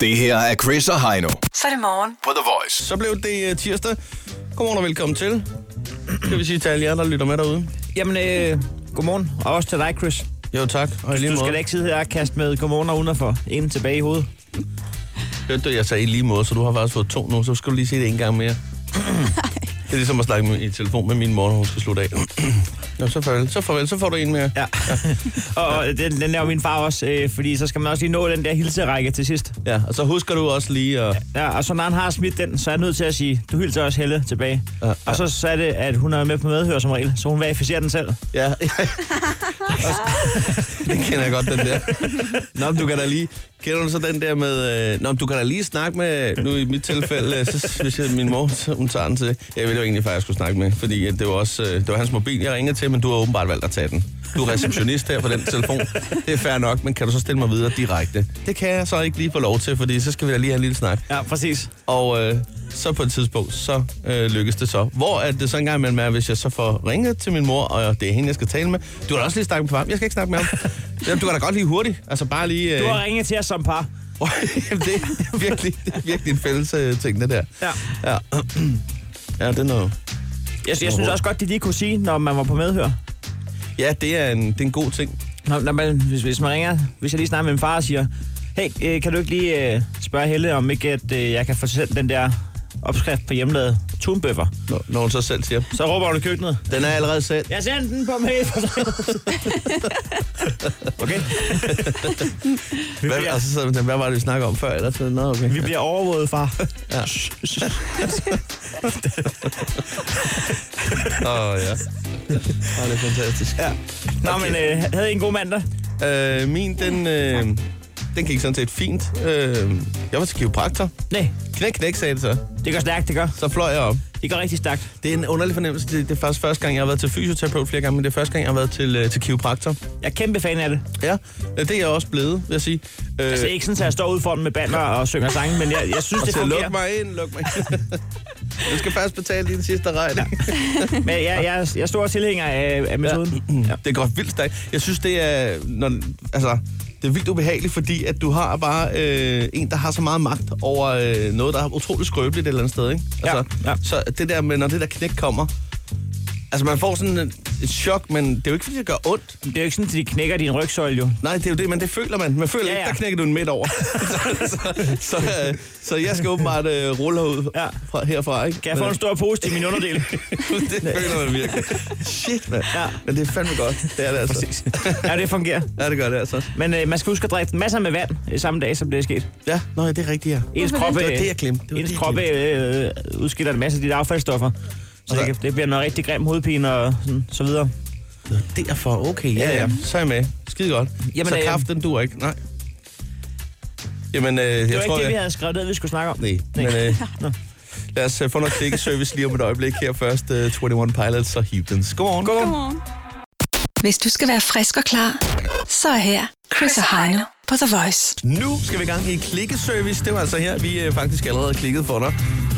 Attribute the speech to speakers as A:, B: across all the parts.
A: Det her er Chris og Heino
B: Så er det morgen.
A: på The Voice.
C: Så blev det øh, tirsdag. Godmorgen og velkommen til. Skal vi sige til alle jer, der lytter med derude?
D: Jamen, øh, godmorgen. Og også til dig, Chris.
C: Jo tak, og i lige
D: Du
C: måde.
D: skal da ikke sidde her og kaste med godmorgen og udenfor. En tilbage i hovedet.
C: Hørte du, jeg sagde i lige måde, så du har faktisk fået to nu, så skal du lige se det en gang mere. det er ligesom at snakke med, i telefon med min mor, når hun skal slutte af. Nå, så farvel, så farvel, så får du en mere.
D: Ja. og og den, den laver min far også, øh, fordi så skal man også lige nå den der hilserække til sidst.
C: Ja, og så husker du også lige at...
D: Ja, og så når han har smidt den, så er jeg nødt til at sige, du hilser også Helle tilbage.
C: Ja, ja.
D: Og så, så er det, at hun er med på medhør som regel, så hun verificerer den selv.
C: Ja. det kender jeg godt, den der. Nå, men du kan da lige... Kender du så den der med... Øh, nå, men du kan da lige snakke med... Nu i mit tilfælde, øh, så, hvis jeg, min mor, så hun tager den til... Jeg ville jo egentlig faktisk skulle snakke med, fordi øh, det var også... Øh, det var hans mobil, jeg ringede til, men du har åbenbart valgt at tage den. Du er receptionist her på den telefon. Det er fair nok, men kan du så stille mig videre direkte? Det kan jeg så ikke lige få lov til, fordi så skal vi da lige have en lille snak.
D: Ja, præcis.
C: Og øh, så på et tidspunkt, så øh, lykkes det så. Hvor er det så engang imellem er, hvis jeg så får ringet til min mor, og det er hende, jeg skal tale med. Du har da også lige snakket med ham. Jeg skal ikke snakke med ham. Jamen, du kan da godt lige hurtigt. Altså bare lige... Øh,
D: Du har ringet til os som par.
C: Jamen, det, det, er virkelig, det er virkelig en fælles øh, ting, det der.
D: Ja.
C: Ja, ja det er noget...
D: Jeg, jeg synes også godt, de lige kunne sige, når man var på medhør.
C: Ja, det er en, det er en god ting.
D: Når, når man, hvis, hvis man ringer, hvis jeg lige snakker med min far og siger, hey, øh, kan du ikke lige øh, spørge Helle, om ikke at, øh, jeg kan få sendt den der opskrift på hjemmelavet tunbøffer?
C: Når, når hun så selv siger,
D: Så råber hun i køkkenet,
C: den er allerede sendt.
D: jeg sendte den på mail. okay,
C: Hvad, og så sidder man og tænker, hvad var det, vi snakkede om før? Eller sådan noget, okay.
D: vi bliver overvåget, far.
C: Ja. Åh, oh, ja. Oh, det er fantastisk. Ja.
D: Nå, men øh, havde I en god mandag?
C: Øh, min, den, øh, den gik sådan set fint. Øh, jeg var til kiropraktor.
D: Nej,
C: Knæk, knæk, sagde det så.
D: det går stærkt, det gør.
C: Så fløj jeg op.
D: Det går rigtig stærkt.
C: Det er en underlig fornemmelse. Det, det er faktisk første gang, jeg har været til fysioterapeut flere gange, men det er første gang, jeg har været til, øh, til kiropraktor.
D: Jeg er kæmpe fan af det.
C: Ja, det er jeg også blevet, vil jeg sige. Øh,
D: Altså ikke sådan, at jeg står ude foran med bander og synger sange, men jeg, jeg synes,
C: og
D: det
C: til at lukke
D: fungerer.
C: mig ind, luk mig ind. du skal først betale din sidste regning.
D: Men jeg, jeg, jeg er stor tilhænger af, af metoden.
C: Ja. Det går vildt stærkt. Jeg synes, det er, når, altså, det er vildt ubehageligt, fordi at du har bare øh, en, der har så meget magt over øh, noget, der er utroligt skrøbeligt et eller andet sted. Ikke?
D: Ja,
C: Altså,
D: ja.
C: Så det der med, når det der knæk kommer, altså man får sådan et, et chok, men det er jo ikke, fordi det gør ondt.
D: Det er jo ikke sådan, at de knækker din rygsøjle jo.
C: Nej, det er jo det, men det føler man. Man føler ja,
D: Ja,
C: ja. ikke,
D: ja.
C: der knækker du en midt over. så, så, så, øh, så jeg skal åbenbart øh, rulle herud ja.
D: Ja.
C: fra, herfra. Ikke?
D: Kan jeg få en stor pose til min underdel?
C: det føler man virkelig. Shit, mand. Ja.
D: Ja.
C: Men det er fandme godt. Det er det altså. Præcis.
D: ja, det fungerer.
C: Ja, det gør det altså.
D: Men øh, man skal huske at drikke masser med vand øh, samme dag, som det er sket.
C: Ja, nå, ja, det er rigtigt, ja.
D: Ens kroppe,
C: Det var
D: øh,
C: det, jeg glemte. Det var
D: ens
C: det, jeg
D: kroppe øh, udskiller en masse af dit affaldsstoffer. Så det, kan- det bliver noget rigtig grim hovedpine og sådan, så videre.
C: Derfor, okay, ja, ja. Så er jeg med. Skide godt. Jamen,
D: Jamen,
C: så
D: øh,
C: kraft, den duer ikke. Nej. Jamen, øh, jeg
D: Det var
C: tror,
D: ikke det, vi
C: jeg...
D: havde skrevet ned, vi skulle snakke om.
C: Nej, men øh, lad os øh, få noget klikkeservice lige om et øjeblik her først. Uh, 21 Pilots og Heathens. Godmorgen. Godmorgen.
B: Hvis du skal være frisk og klar, så er her Chris og Heino på The Voice.
C: Nu skal vi i gang i klikkeservice. Det var altså her, vi øh, faktisk allerede klikkede for dig.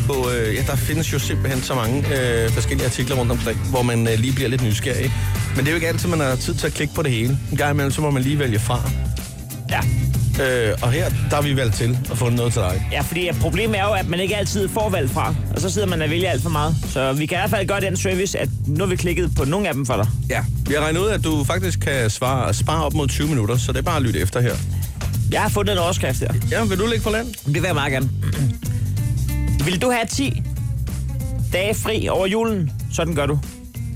C: På, øh, ja, der findes jo simpelthen så mange øh, forskellige artikler rundt omkring, hvor man øh, lige bliver lidt nysgerrig. Men det er jo ikke altid, man har tid til at klikke på det hele. En gang imellem, så må man lige vælge fra.
D: Ja.
C: Øh, og her, der har vi valgt til at få noget til dig.
D: ja, fordi øh, problemet er jo, at man ikke altid får valg fra, og så sidder man og vælger alt for meget. Så vi kan i hvert fald gøre den service, at nu har vi klikket på nogle af dem for dig.
C: Ja. Vi har regnet ud, at du faktisk kan svare, spare op mod 20 minutter, så det er bare at lytte efter her.
D: Jeg har fundet en overskrift her.
C: Ja, vil du ligge på land?
D: Det vil jeg meget gerne. Vil du have 10 dage fri over julen? Sådan gør du.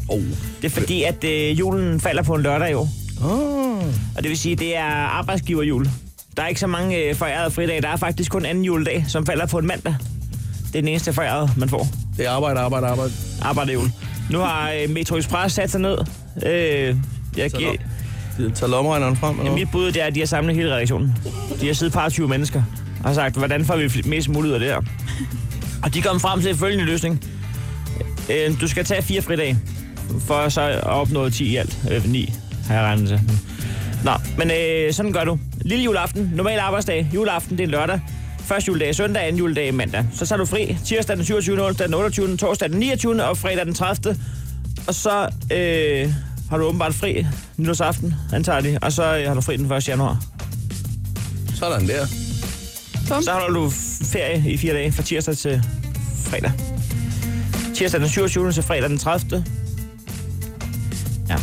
C: Oh.
D: Det er fordi, at øh, julen falder på en lørdag i år.
C: oh.
D: Og det vil sige, at det er arbejdsgiverjul. Der er ikke så mange øh, forærede fridage. Der er faktisk kun anden juledag, som falder på en mandag. Det er den eneste forærede, man får.
C: Det er arbejde, arbejde, arbejde.
D: Arbejderjul. Nu har øh, Metro Express sat sig ned. Øh, jeg
C: Så
D: giver,
C: Det tager lommeregneren frem, eller hvad?
D: mit bud det er, at de har samlet hele redaktionen. De har siddet par 20 mennesker og har sagt, hvordan får vi fl- mest muligt af det her? Og de kom frem til følgende løsning. Øh, du skal tage fire fridage, for så at opnå 10 i alt. Øh, 9 har jeg regnet til. Nå, men øh, sådan gør du. Lille juleaften, normal arbejdsdag. Juleaften, det er lørdag. Første juledag er søndag, anden juledag er mandag. Så tager du fri tirsdag den 27., onsdag den 28., torsdag den 29. og fredag den 30. Og så øh, har du åbenbart fri nytårsaften, antager de. Og så øh, har du fri den 1. januar.
C: Sådan der.
B: Bum.
D: Så holder du ferie i fire dage, fra tirsdag til fredag. Tirsdag den 27. til fredag den 30. Ja.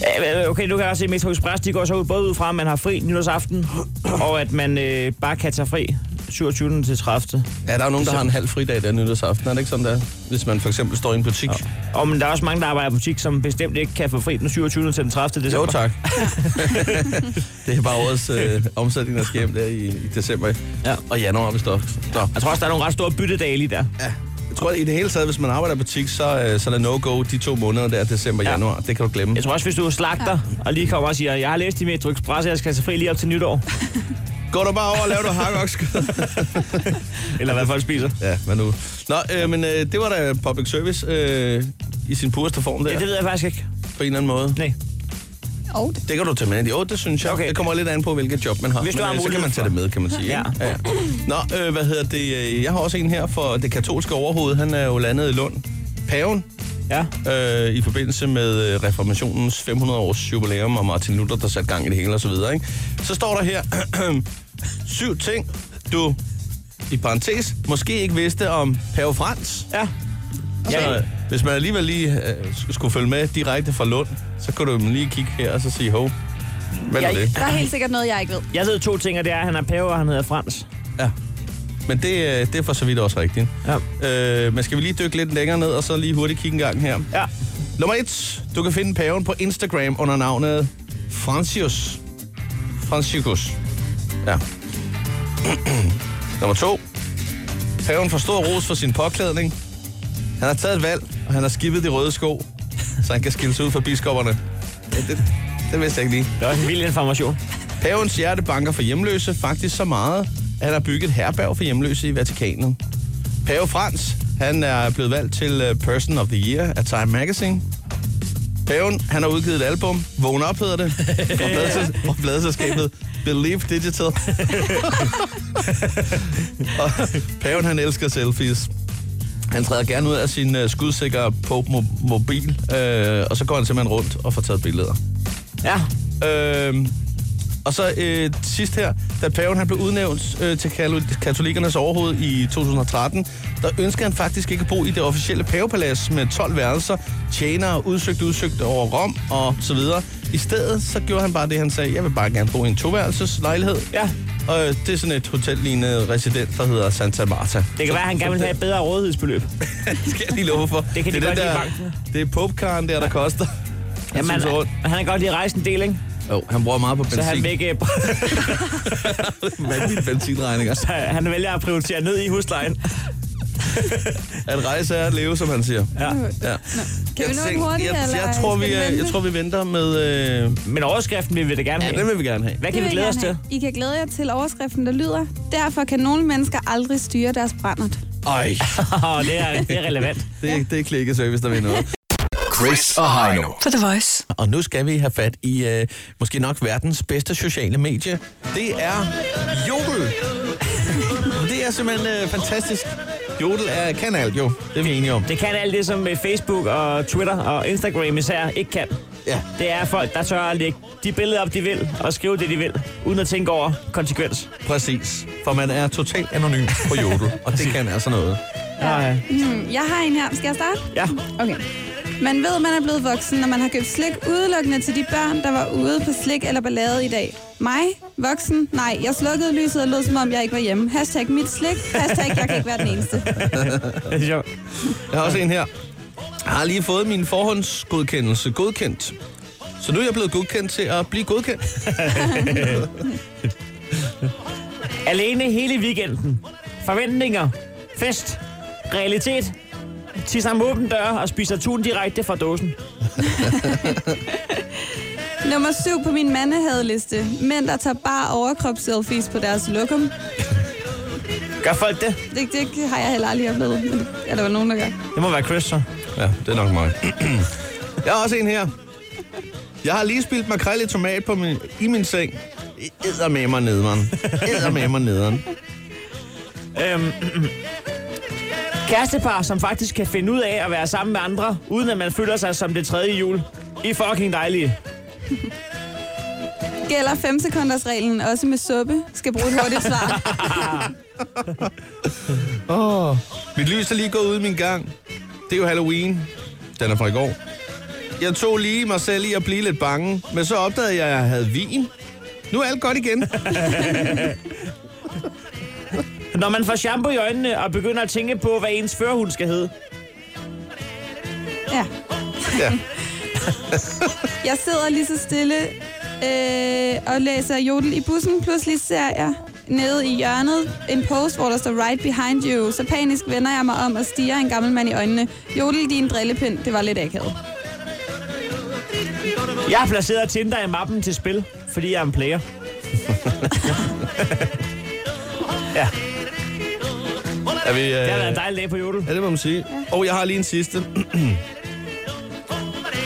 D: Ja, men Okay, nu kan jeg også se, at Metro Express de går så ud, både ud fra, at man har fri nytårsaften, og at man øh, bare kan tage fri 27. til 30.
C: Ja, der er jo nogen, der har en halv fridag der nytårsaften. Er det ikke sådan, der? Hvis man for eksempel står i en butik. Ja.
D: Og men der er også mange, der arbejder i butik, som bestemt ikke kan få fri den 27. til den 30. december.
C: Jo, tak. det er bare årets øh, omsætning, der sker hjem der i, i december
D: Ja.
C: og januar, hvis der Nå,
D: Jeg tror også, der er nogle ret store byttedage lige der.
C: Ja. Jeg tror, at i det hele taget, hvis man arbejder i butik, så, øh, så er der no-go de to måneder der, december og
D: Ja.
C: januar. Det kan du glemme.
D: Jeg tror også, hvis du er slagter, og lige kommer og siger, jeg har læst i Metro Express, jeg skal tage fri lige op til nytår.
C: Går du bare over og laver du hakkokskød?
D: Eller hvad folk spiser.
C: ja, hvad nu? Nå, øh, men øh, det var da public service øh, i sin pureste form der,
D: Ja, det ved jeg faktisk ikke.
C: på en eller anden måde.
D: Nej.
B: Og det.
C: Det kan du tage med ind i. Åh, det synes jeg.
D: Okay.
C: Okay. Det kommer lidt an på, hvilket job man har.
D: Hvis du
C: men,
D: har
C: øh, så
D: mulighed
C: kan man tage det med, kan man sige.
D: Ja.
C: ikke? ja. Nå, øh, hvad hedder det? øh, Jeg har også en her for det katolske overhoved. Han er jo landet i Lund. Paven
D: Ja.
C: øh, i forbindelse med øh, reformationens 500-års jubilæum og Martin Luther, der satte gang i det hele og Så, videre, ikke? så står der her, syv ting, du i parentes, måske ikke vidste om Pave Frans.
D: Ja.
C: Så,
D: Ja,
C: øh, hvis man alligevel lige øh, sk- skulle følge med direkte fra Lund, så kunne du lige kigge her og så sige, hov, hvad er
D: Jeg-
C: det?
A: Der er helt sikkert noget, jeg ikke ved.
D: jeg ved to ting, og det er, at han er pave, og han hedder Frans.
C: Ja. Men det, øh, det er for så vidt også rigtigt.
D: Ja.
C: Øh, men skal vi lige dykke lidt længere ned, og så lige hurtigt kigge en gang her.
D: Ja.
C: Nummer et. Du kan finde paven på Instagram under navnet Francius. Franciscus. Ja. Nummer to. Paven får stor ros for sin påklædning. Han har taget et valg, og han har skippet de røde sko, så han kan skilles ud fra biskopperne. Ja, det, det vidste jeg ikke lige.
D: Det er også en vild information.
C: Pavens hjerte banker for hjemløse faktisk så meget, at han har bygget et herberg for hjemløse i Vatikanet. Pave Frans, han er blevet valgt til øh, Person of the Year af Time Magazine. Paven, han har udgivet et album, Vågn op hedder det, fra pladeselskabet, fra pladeselskabet Believe Digital. Og paven, han elsker selfies. Han træder gerne ud af sin øh, skudsikre Pope mo- mobil, øh, og så går han simpelthen rundt og får taget billeder.
D: Ja.
C: Øhm, og så øh, sidst her, da paven han blev udnævnt øh, til kalo- katolikernes overhoved i 2013, der ønskede han faktisk ikke at bo i det officielle pavepalads med 12 værelser, tjenere, udsøgt, udsøgt over Rom og så videre. I stedet så gjorde han bare det, han sagde, jeg vil bare gerne bo i en toværelseslejlighed.
D: Ja.
C: Og øh, det er sådan et hotellignende resident, der hedder Santa Marta.
D: Det kan være, at han gerne vil have et bedre rådighedsbeløb.
C: Det skal jeg lige love for.
D: Det kan de
C: er
D: godt
C: den
D: lide i
C: der,
D: banken.
C: Det er popkaren der, der koster. Han,
D: Jamen,
C: suser rundt.
D: han, han kan godt lide at rejse en del, ikke?
C: Jo, han bruger meget på
D: Så
C: benzin.
D: han, vil ikke,
C: Vanvittige benzinregninger.
D: han vælger at prioritere ned i huslejen.
C: At rejse er at leve, som han siger.
D: Ja.
C: Ja.
A: Kan vi nå den
C: tænker-
A: hurtigt,
C: jeg,
A: eller
C: jeg, tror,
A: skal
C: vi,
A: vi
C: øh,
A: vente?
C: jeg tror, vi venter med... Øh,
D: Men overskriften vil vi da gerne
C: ja,
D: have.
C: den vil vi gerne have.
D: Hvad
A: Det
D: kan vi
A: vil
D: glæde
A: jeg
D: os
A: gerne
D: til?
A: have. I kan glæde jer til overskriften, der lyder, derfor kan nogle mennesker aldrig styre deres brændert. Hmm,
C: Ej,
D: Åh, det, er, det er relevant.
C: det, det er klikkeservice, der vil noget.
E: Chris og Heino.
B: På The Voice.
C: Og nu skal vi have fat i øh, måske nok verdens bedste sociale medie. Det er Jodel. det er simpelthen øh, fantastisk. Jodel er kanal, jo. Det er vi enige om.
D: Det kan alt det, som øh, Facebook og Twitter og Instagram især ikke kan.
C: Ja.
D: Det er folk, der tør at lægge de billeder op, de vil, og skrive det, de vil, uden at tænke over konsekvens.
C: Præcis. For man er totalt anonym på Jodel, og det kan altså noget.
D: Ja.
A: Hmm, jeg har en her. Skal jeg starte?
D: ja.
A: Okay. Man ved, man er blevet voksen, når man har købt slik udelukkende til de børn, der var ude på slik eller ballade i dag. Mig? Voksen? Nej, jeg slukkede lyset og lød, som om jeg ikke var hjemme. Hashtag mit slik. Hashtag jeg kan ikke være den eneste.
D: Det er sjovt.
C: Jeg har også en her. Jeg har lige fået min forhåndsgodkendelse godkendt. Så nu er jeg blevet godkendt til at blive godkendt.
D: Alene hele weekenden. Forventninger. Fest. Realitet. Tisser om åben dør og spiser tun direkte fra dåsen.
A: Nummer syv på min mandehadeliste. Mænd, der tager bare overkrop-selfies på deres lokum.
D: Gør folk det?
A: Det, det har jeg heller aldrig oplevet, men ja, der var nogen, der gør.
D: Det må være Chris, så.
C: Ja, det er nok mig. Jeg har også en her. Jeg har lige spildt makrel i tomat på min, i min seng. Æder med mig nederen. Æder med mig nederen.
D: Øhm, kærestepar, som faktisk kan finde ud af at være sammen med andre, uden at man føler sig som det tredje jul. I er fucking dejlige.
A: Gælder 5 sekunders reglen også med suppe? Skal bruge et hurtigt svar.
C: Oh. Mit lys er lige gået ud i min gang. Det er jo Halloween. Den er fra i går. Jeg tog lige mig selv i at blive lidt bange, men så opdagede jeg, at jeg havde vin. Nu er alt godt igen.
D: Når man får shampoo i øjnene og begynder at tænke på, hvad ens førhund skal hedde.
A: Ja.
C: Ja.
A: Jeg sidder lige så stille øh, og læser jodel i bussen. Pludselig ser jeg nede i hjørnet en post, hvor der står right behind you. Så panisk vender jeg mig om og stiger en gammel mand i øjnene. Jodel, din drillepind. Det var lidt akavet.
D: Jeg har placeret Tinder i mappen til spil, fordi jeg er en player. ja,
C: Er vi, øh...
D: det har været en dejlig dag på Jodel.
C: Ja, det må man sige. Og jeg har lige en sidste.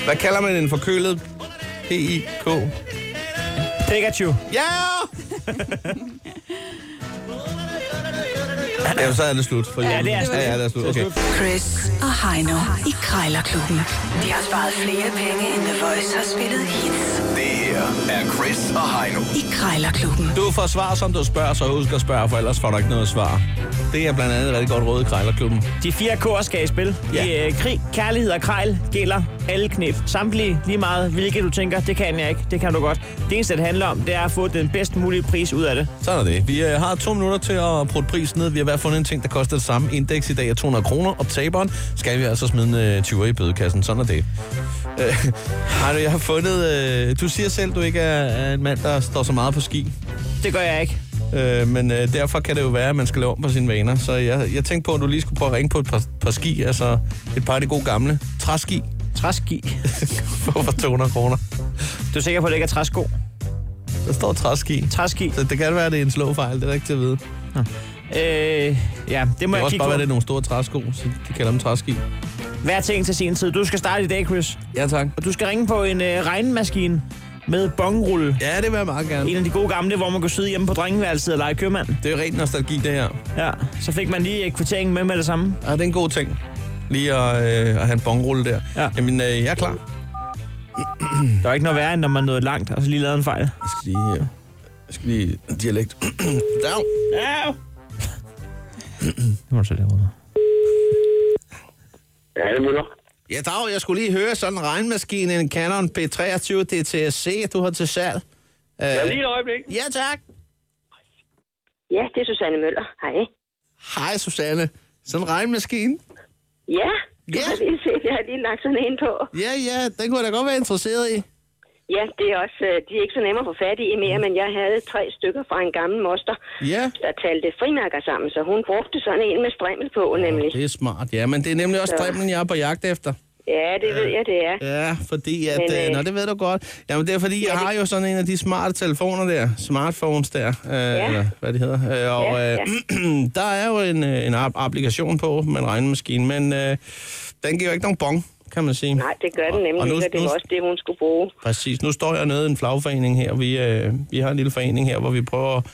C: Hvad kalder man en forkølet? P-I-K.
D: Pikachu.
C: Ja! Jamen, så er det slut. For
D: Ja, det er
C: slut.
D: slut.
C: Ja, ja, det er slut. Okay.
B: Chris og Heino i Krejlerklubben. De har sparet flere penge, end The Voice har spillet hits
E: Det her er Chris og Heino.
B: i Krejlerklubben.
C: Du får svar, som du spørger, så husk at spørge, for ellers får du ikke noget svar. Det er blandt andet et rigtig godt råd i Krejlerklubben.
D: De fire K'er skal i spil.
C: Ja.
D: Ja. I, øh, krig, kærlighed og krejl gælder alle knep. Samtlige lige meget, hvilket du tænker, det kan jeg ikke, det kan du godt. Det eneste, det handler om, det er at få den bedst mulige pris ud af det.
C: Sådan er det. Vi øh, har to minutter til at prutte prisen ned. Vi har i hvert fald fundet en ting, der koster det samme. Indeks i dag er 200 kroner, og taberen skal vi altså smide en øh, 20 i bødekassen. Sådan er det. Øh, har du, jeg har fundet... Øh, du siger selv, du ikke er, er en mand, der står så meget på ski.
D: Det gør jeg ikke.
C: Øh, men øh, derfor kan det jo være, at man skal lave om på sine vaner. Så jeg, jeg tænkte på, at du lige skulle prøve at ringe på et par, par ski. Altså et par af de gode gamle træski
D: Træski.
C: for for 200 kroner.
D: Du er sikker på, at det ikke er træsko?
C: Der står træski.
D: Træski.
C: Så det kan være, at det er en slåfejl. Det er der ikke til at vide. Det
D: Øh, ja, det må
C: kan
D: jeg
C: også
D: kigge
C: bare
D: på.
C: være, at det er nogle store træsko, så de kalder dem træski.
D: Hver ting til sin tid. Du skal starte i dag, Chris.
C: Ja, tak.
D: Og du skal ringe på en øh, regnmaskine med bongrulle.
C: Ja, det vil jeg meget gerne.
D: En af de gode gamle, hvor man kunne sidde hjemme på drengeværelset og lege købmand.
C: Det er rent nostalgi, det her.
D: Ja, så fik man lige øh, kvitteringen med med det samme.
C: Ja, det er en god ting. Lige at, øh, at have en bongrulle der.
D: Ja.
C: Jamen, øh, jeg er klar.
D: Der var ikke noget værre, end når man nåede langt, og så lige lavede en fejl.
C: Jeg skal lige... Øh, jeg skal lige... Dialekt. Dag.
D: Ja. Nu må du sætte derude.
F: Ja, det er Møller.
C: Ja, Dag, jeg skulle lige høre sådan en regnmaskine, en Canon P23 DTSC, du har til salg. Øh,
F: Ja, lige et øjeblik.
C: ja, tak.
G: Ja, det er Susanne Møller. Hej.
C: Hej, Susanne. Sådan en regnmaskine.
G: Ja, du
C: Ja.
G: har lige set, jeg har lige lagt sådan en på.
C: Ja, ja, den kunne jeg da godt være interesseret i.
G: Ja, det er også, øh, de er ikke så nemme at få fat i mere, men jeg havde tre stykker fra en gammel moster,
C: Ja.
G: der talte frimærker sammen, så hun brugte sådan en med strimmel på, nemlig.
C: Det er smart, ja, men det er nemlig også
G: Ja.
C: drømmen, jeg er på jagt efter.
G: Ja, det ved jeg, det er.
C: Ja, fordi at...
G: Men,
C: Men,
G: øh,
C: øh, nå, det ved du godt. Jamen, det er fordi, jeg har jo sådan en af de smarte telefoner der. Smartphones der. Øh, ja. Eller hvad det hedder. Øh, og
G: Ja,
C: øh, der er jo en, øh, en app- applikation på med en regnemaskine, men øh, den giver jo ikke nogen bong, kan man sige.
G: Nej, det gør den nemlig
C: og nu-
G: ikke, og det var
C: nu-
G: også det, hun skulle bruge.
C: Præcis. Nu står jeg nede i en flagforening her. Vi, øh, vi har en lille forening her, hvor vi prøver at-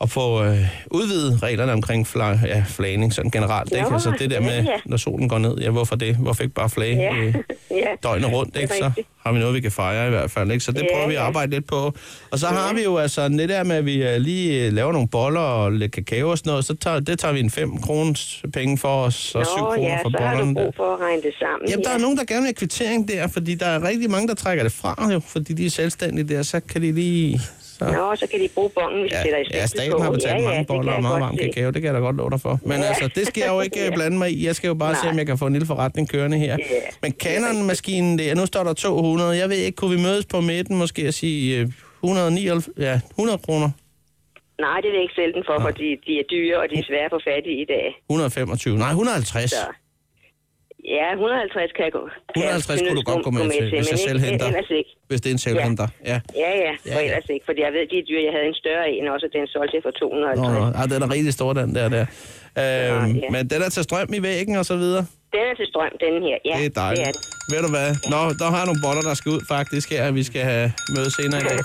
C: at få øh, udvidet reglerne omkring flag, ja, flagning sådan generelt. Ikke?
G: Nå,
C: Altså det der
G: ja,
C: med,
G: ja.
C: når solen går ned, ja, hvorfor det? Hvorfor ikke bare flage
G: Ja,
C: øh,
G: ja.
C: døgnet rundt?
G: Det er
C: Ikke? Så
G: rigtigt.
C: har vi noget, vi kan fejre i hvert fald. Ikke? Så det
G: Ja,
C: prøver vi at
G: ja.
C: arbejde lidt på. Og så har vi jo altså det der med, at vi øh, lige øh, laver nogle boller og lidt kakao og sådan noget. Så tager, det tager vi en 5 kroners penge for os, og 7
G: Nå,
C: kroner
G: ja,
C: for
G: så har du
C: bollerne. der.
G: brug for at regne det sammen.
C: Jamen, der
G: ja.
C: er nogen, der gerne vil have kvittering der, fordi der er rigtig mange, der trækker det fra, jo, fordi de er selvstændige der, så kan de lige... Så...
G: Nå, så kan de bruge bongen, hvis de sætter i
C: ja,
G: stikket
C: staten
G: på.
C: har betalt
G: ja,
C: mange
G: ja, det
C: boller
G: kan
C: og
G: jeg
C: meget
G: godt
C: varm
G: se.
C: kakao, det kan jeg da godt love dig for. Men
G: Ja.
C: altså, det skal jeg jo ikke øh, blande mig i. Jeg skal jo bare Nej. se, om
G: Nej.
C: jeg kan få en lille forretning kørende her.
G: Ja.
C: Men Canon-maskinen der, nu står der 200. Jeg ved ikke, kunne vi mødes på midten måske og sige øh, 199, ja, 100 kroner?
G: Nej, det er det ikke selv den for, fordi de er dyre, og de er svære at få fat i i dag.
C: 125, nej, 150.
G: Så. Ja, 150 kan jeg gå. kan
C: 150 kunne du
G: synes,
C: godt gå med til,
G: men
C: hvis jeg
G: ikke-
C: selv henter.
G: Ellers ikke.
C: Hvis det er en selvhenter. Ja.
G: Ja, ja,
C: Ja,
G: og
C: ja.
G: ellers ikke, fordi jeg ved, de er dyre. Jeg havde en større en også, og den solgte jeg for 250.
C: Nå, nå. Ej, den er rigtig stor, den der. der. Øhm,
G: ja.
C: Men den er til strøm i væggen og så videre.
G: Den er til strøm, den her. Ja,
C: det er dejligt.
G: Det er
C: Det
G: den.
C: Ved du hvad? Nå, der har jeg nogle boller, der skal ud faktisk her, vi skal have møde senere i dag.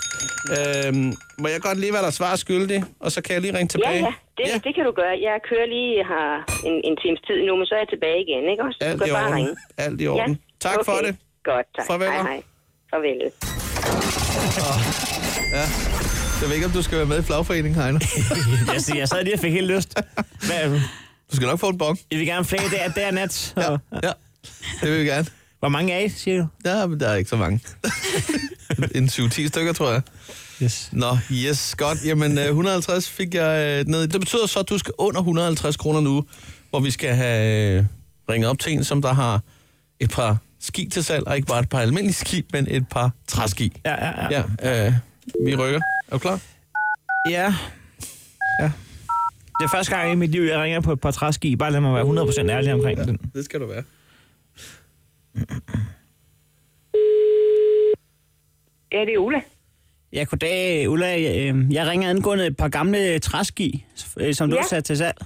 C: Øhm, må jeg godt lige være der svar skyldig, og så kan jeg lige ringe
G: Ja,
C: tilbage?
G: ja, det, ja. det kan du gøre. Jeg kører lige jeg har en, en times tid nu, men så er jeg tilbage igen, ikke også? du
C: Alt
G: kan
C: i
G: bare ringe.
C: orden. Alt i orden. Tak
G: okay.
C: for det.
G: Godt, tak.
C: Farvel.
G: Hej, hej. Farvel.
C: Jeg ved ikke, om du skal være med i flagforeningen, Heiner.
D: Jeg, siger, jeg sad lige og fik helt lyst. Hvad,
C: Du skal nok få en bong.
D: I vil gerne flage der, der nat.
C: Ja,
D: Og,
C: ja. Det vil vi gerne.
D: Hvor mange er I, siger du?
C: Ja, men der er ikke så mange. en 7-10 stykker, tror jeg.
D: Yes.
C: Nå, yes, godt. Jamen, øh, 150 fik jeg øh, ned. Det betyder så, at du skal under 150 kroner nu, hvor vi skal have øh, ringet op til en, som der har et par ski til salg, og ikke bare et par almindelige ski, men et par træski.
D: Ja, ja, ja.
C: Ja, øh, vi rykker. Er du klar?
D: Ja. ja. Det er første gang i mit liv, jeg ringer på et par træski. Bare lad mig være 100% ærlig omkring den.
C: Det skal du være.
G: Ja, det er Ola.
D: Ja, goddag, Ulla. Øh, Jeg ringer angående et par gamle træski, øh, som du
G: Ja.
D: har sat til salg.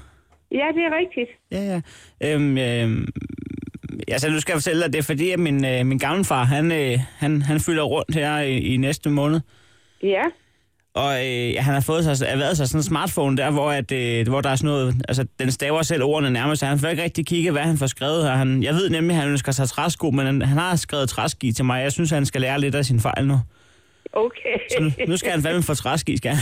G: Ja, det er rigtigt.
D: Ja, ja. Øhm, øhm, altså, nu skal jeg fortælle dig, det er fordi, at min, øh, min gamle far, han, øh, han, han fylder rundt her i, i næste måned.
G: Ja,
D: Og øh, han har fået sig, erhvervet sig sådan en smartphone der, hvor, at, øh, hvor der er sådan noget, altså den staver selv ordene nærmest, så han får ikke rigtig kigge, hvad han får skrevet her. Han, jeg ved nemlig, at han ønsker sig træsko, men han, han har skrevet træski til mig. Jeg synes, han skal lære lidt af sin fejl nu.
G: okay.
D: Så nu, nu skal han fandme få træski, skal han.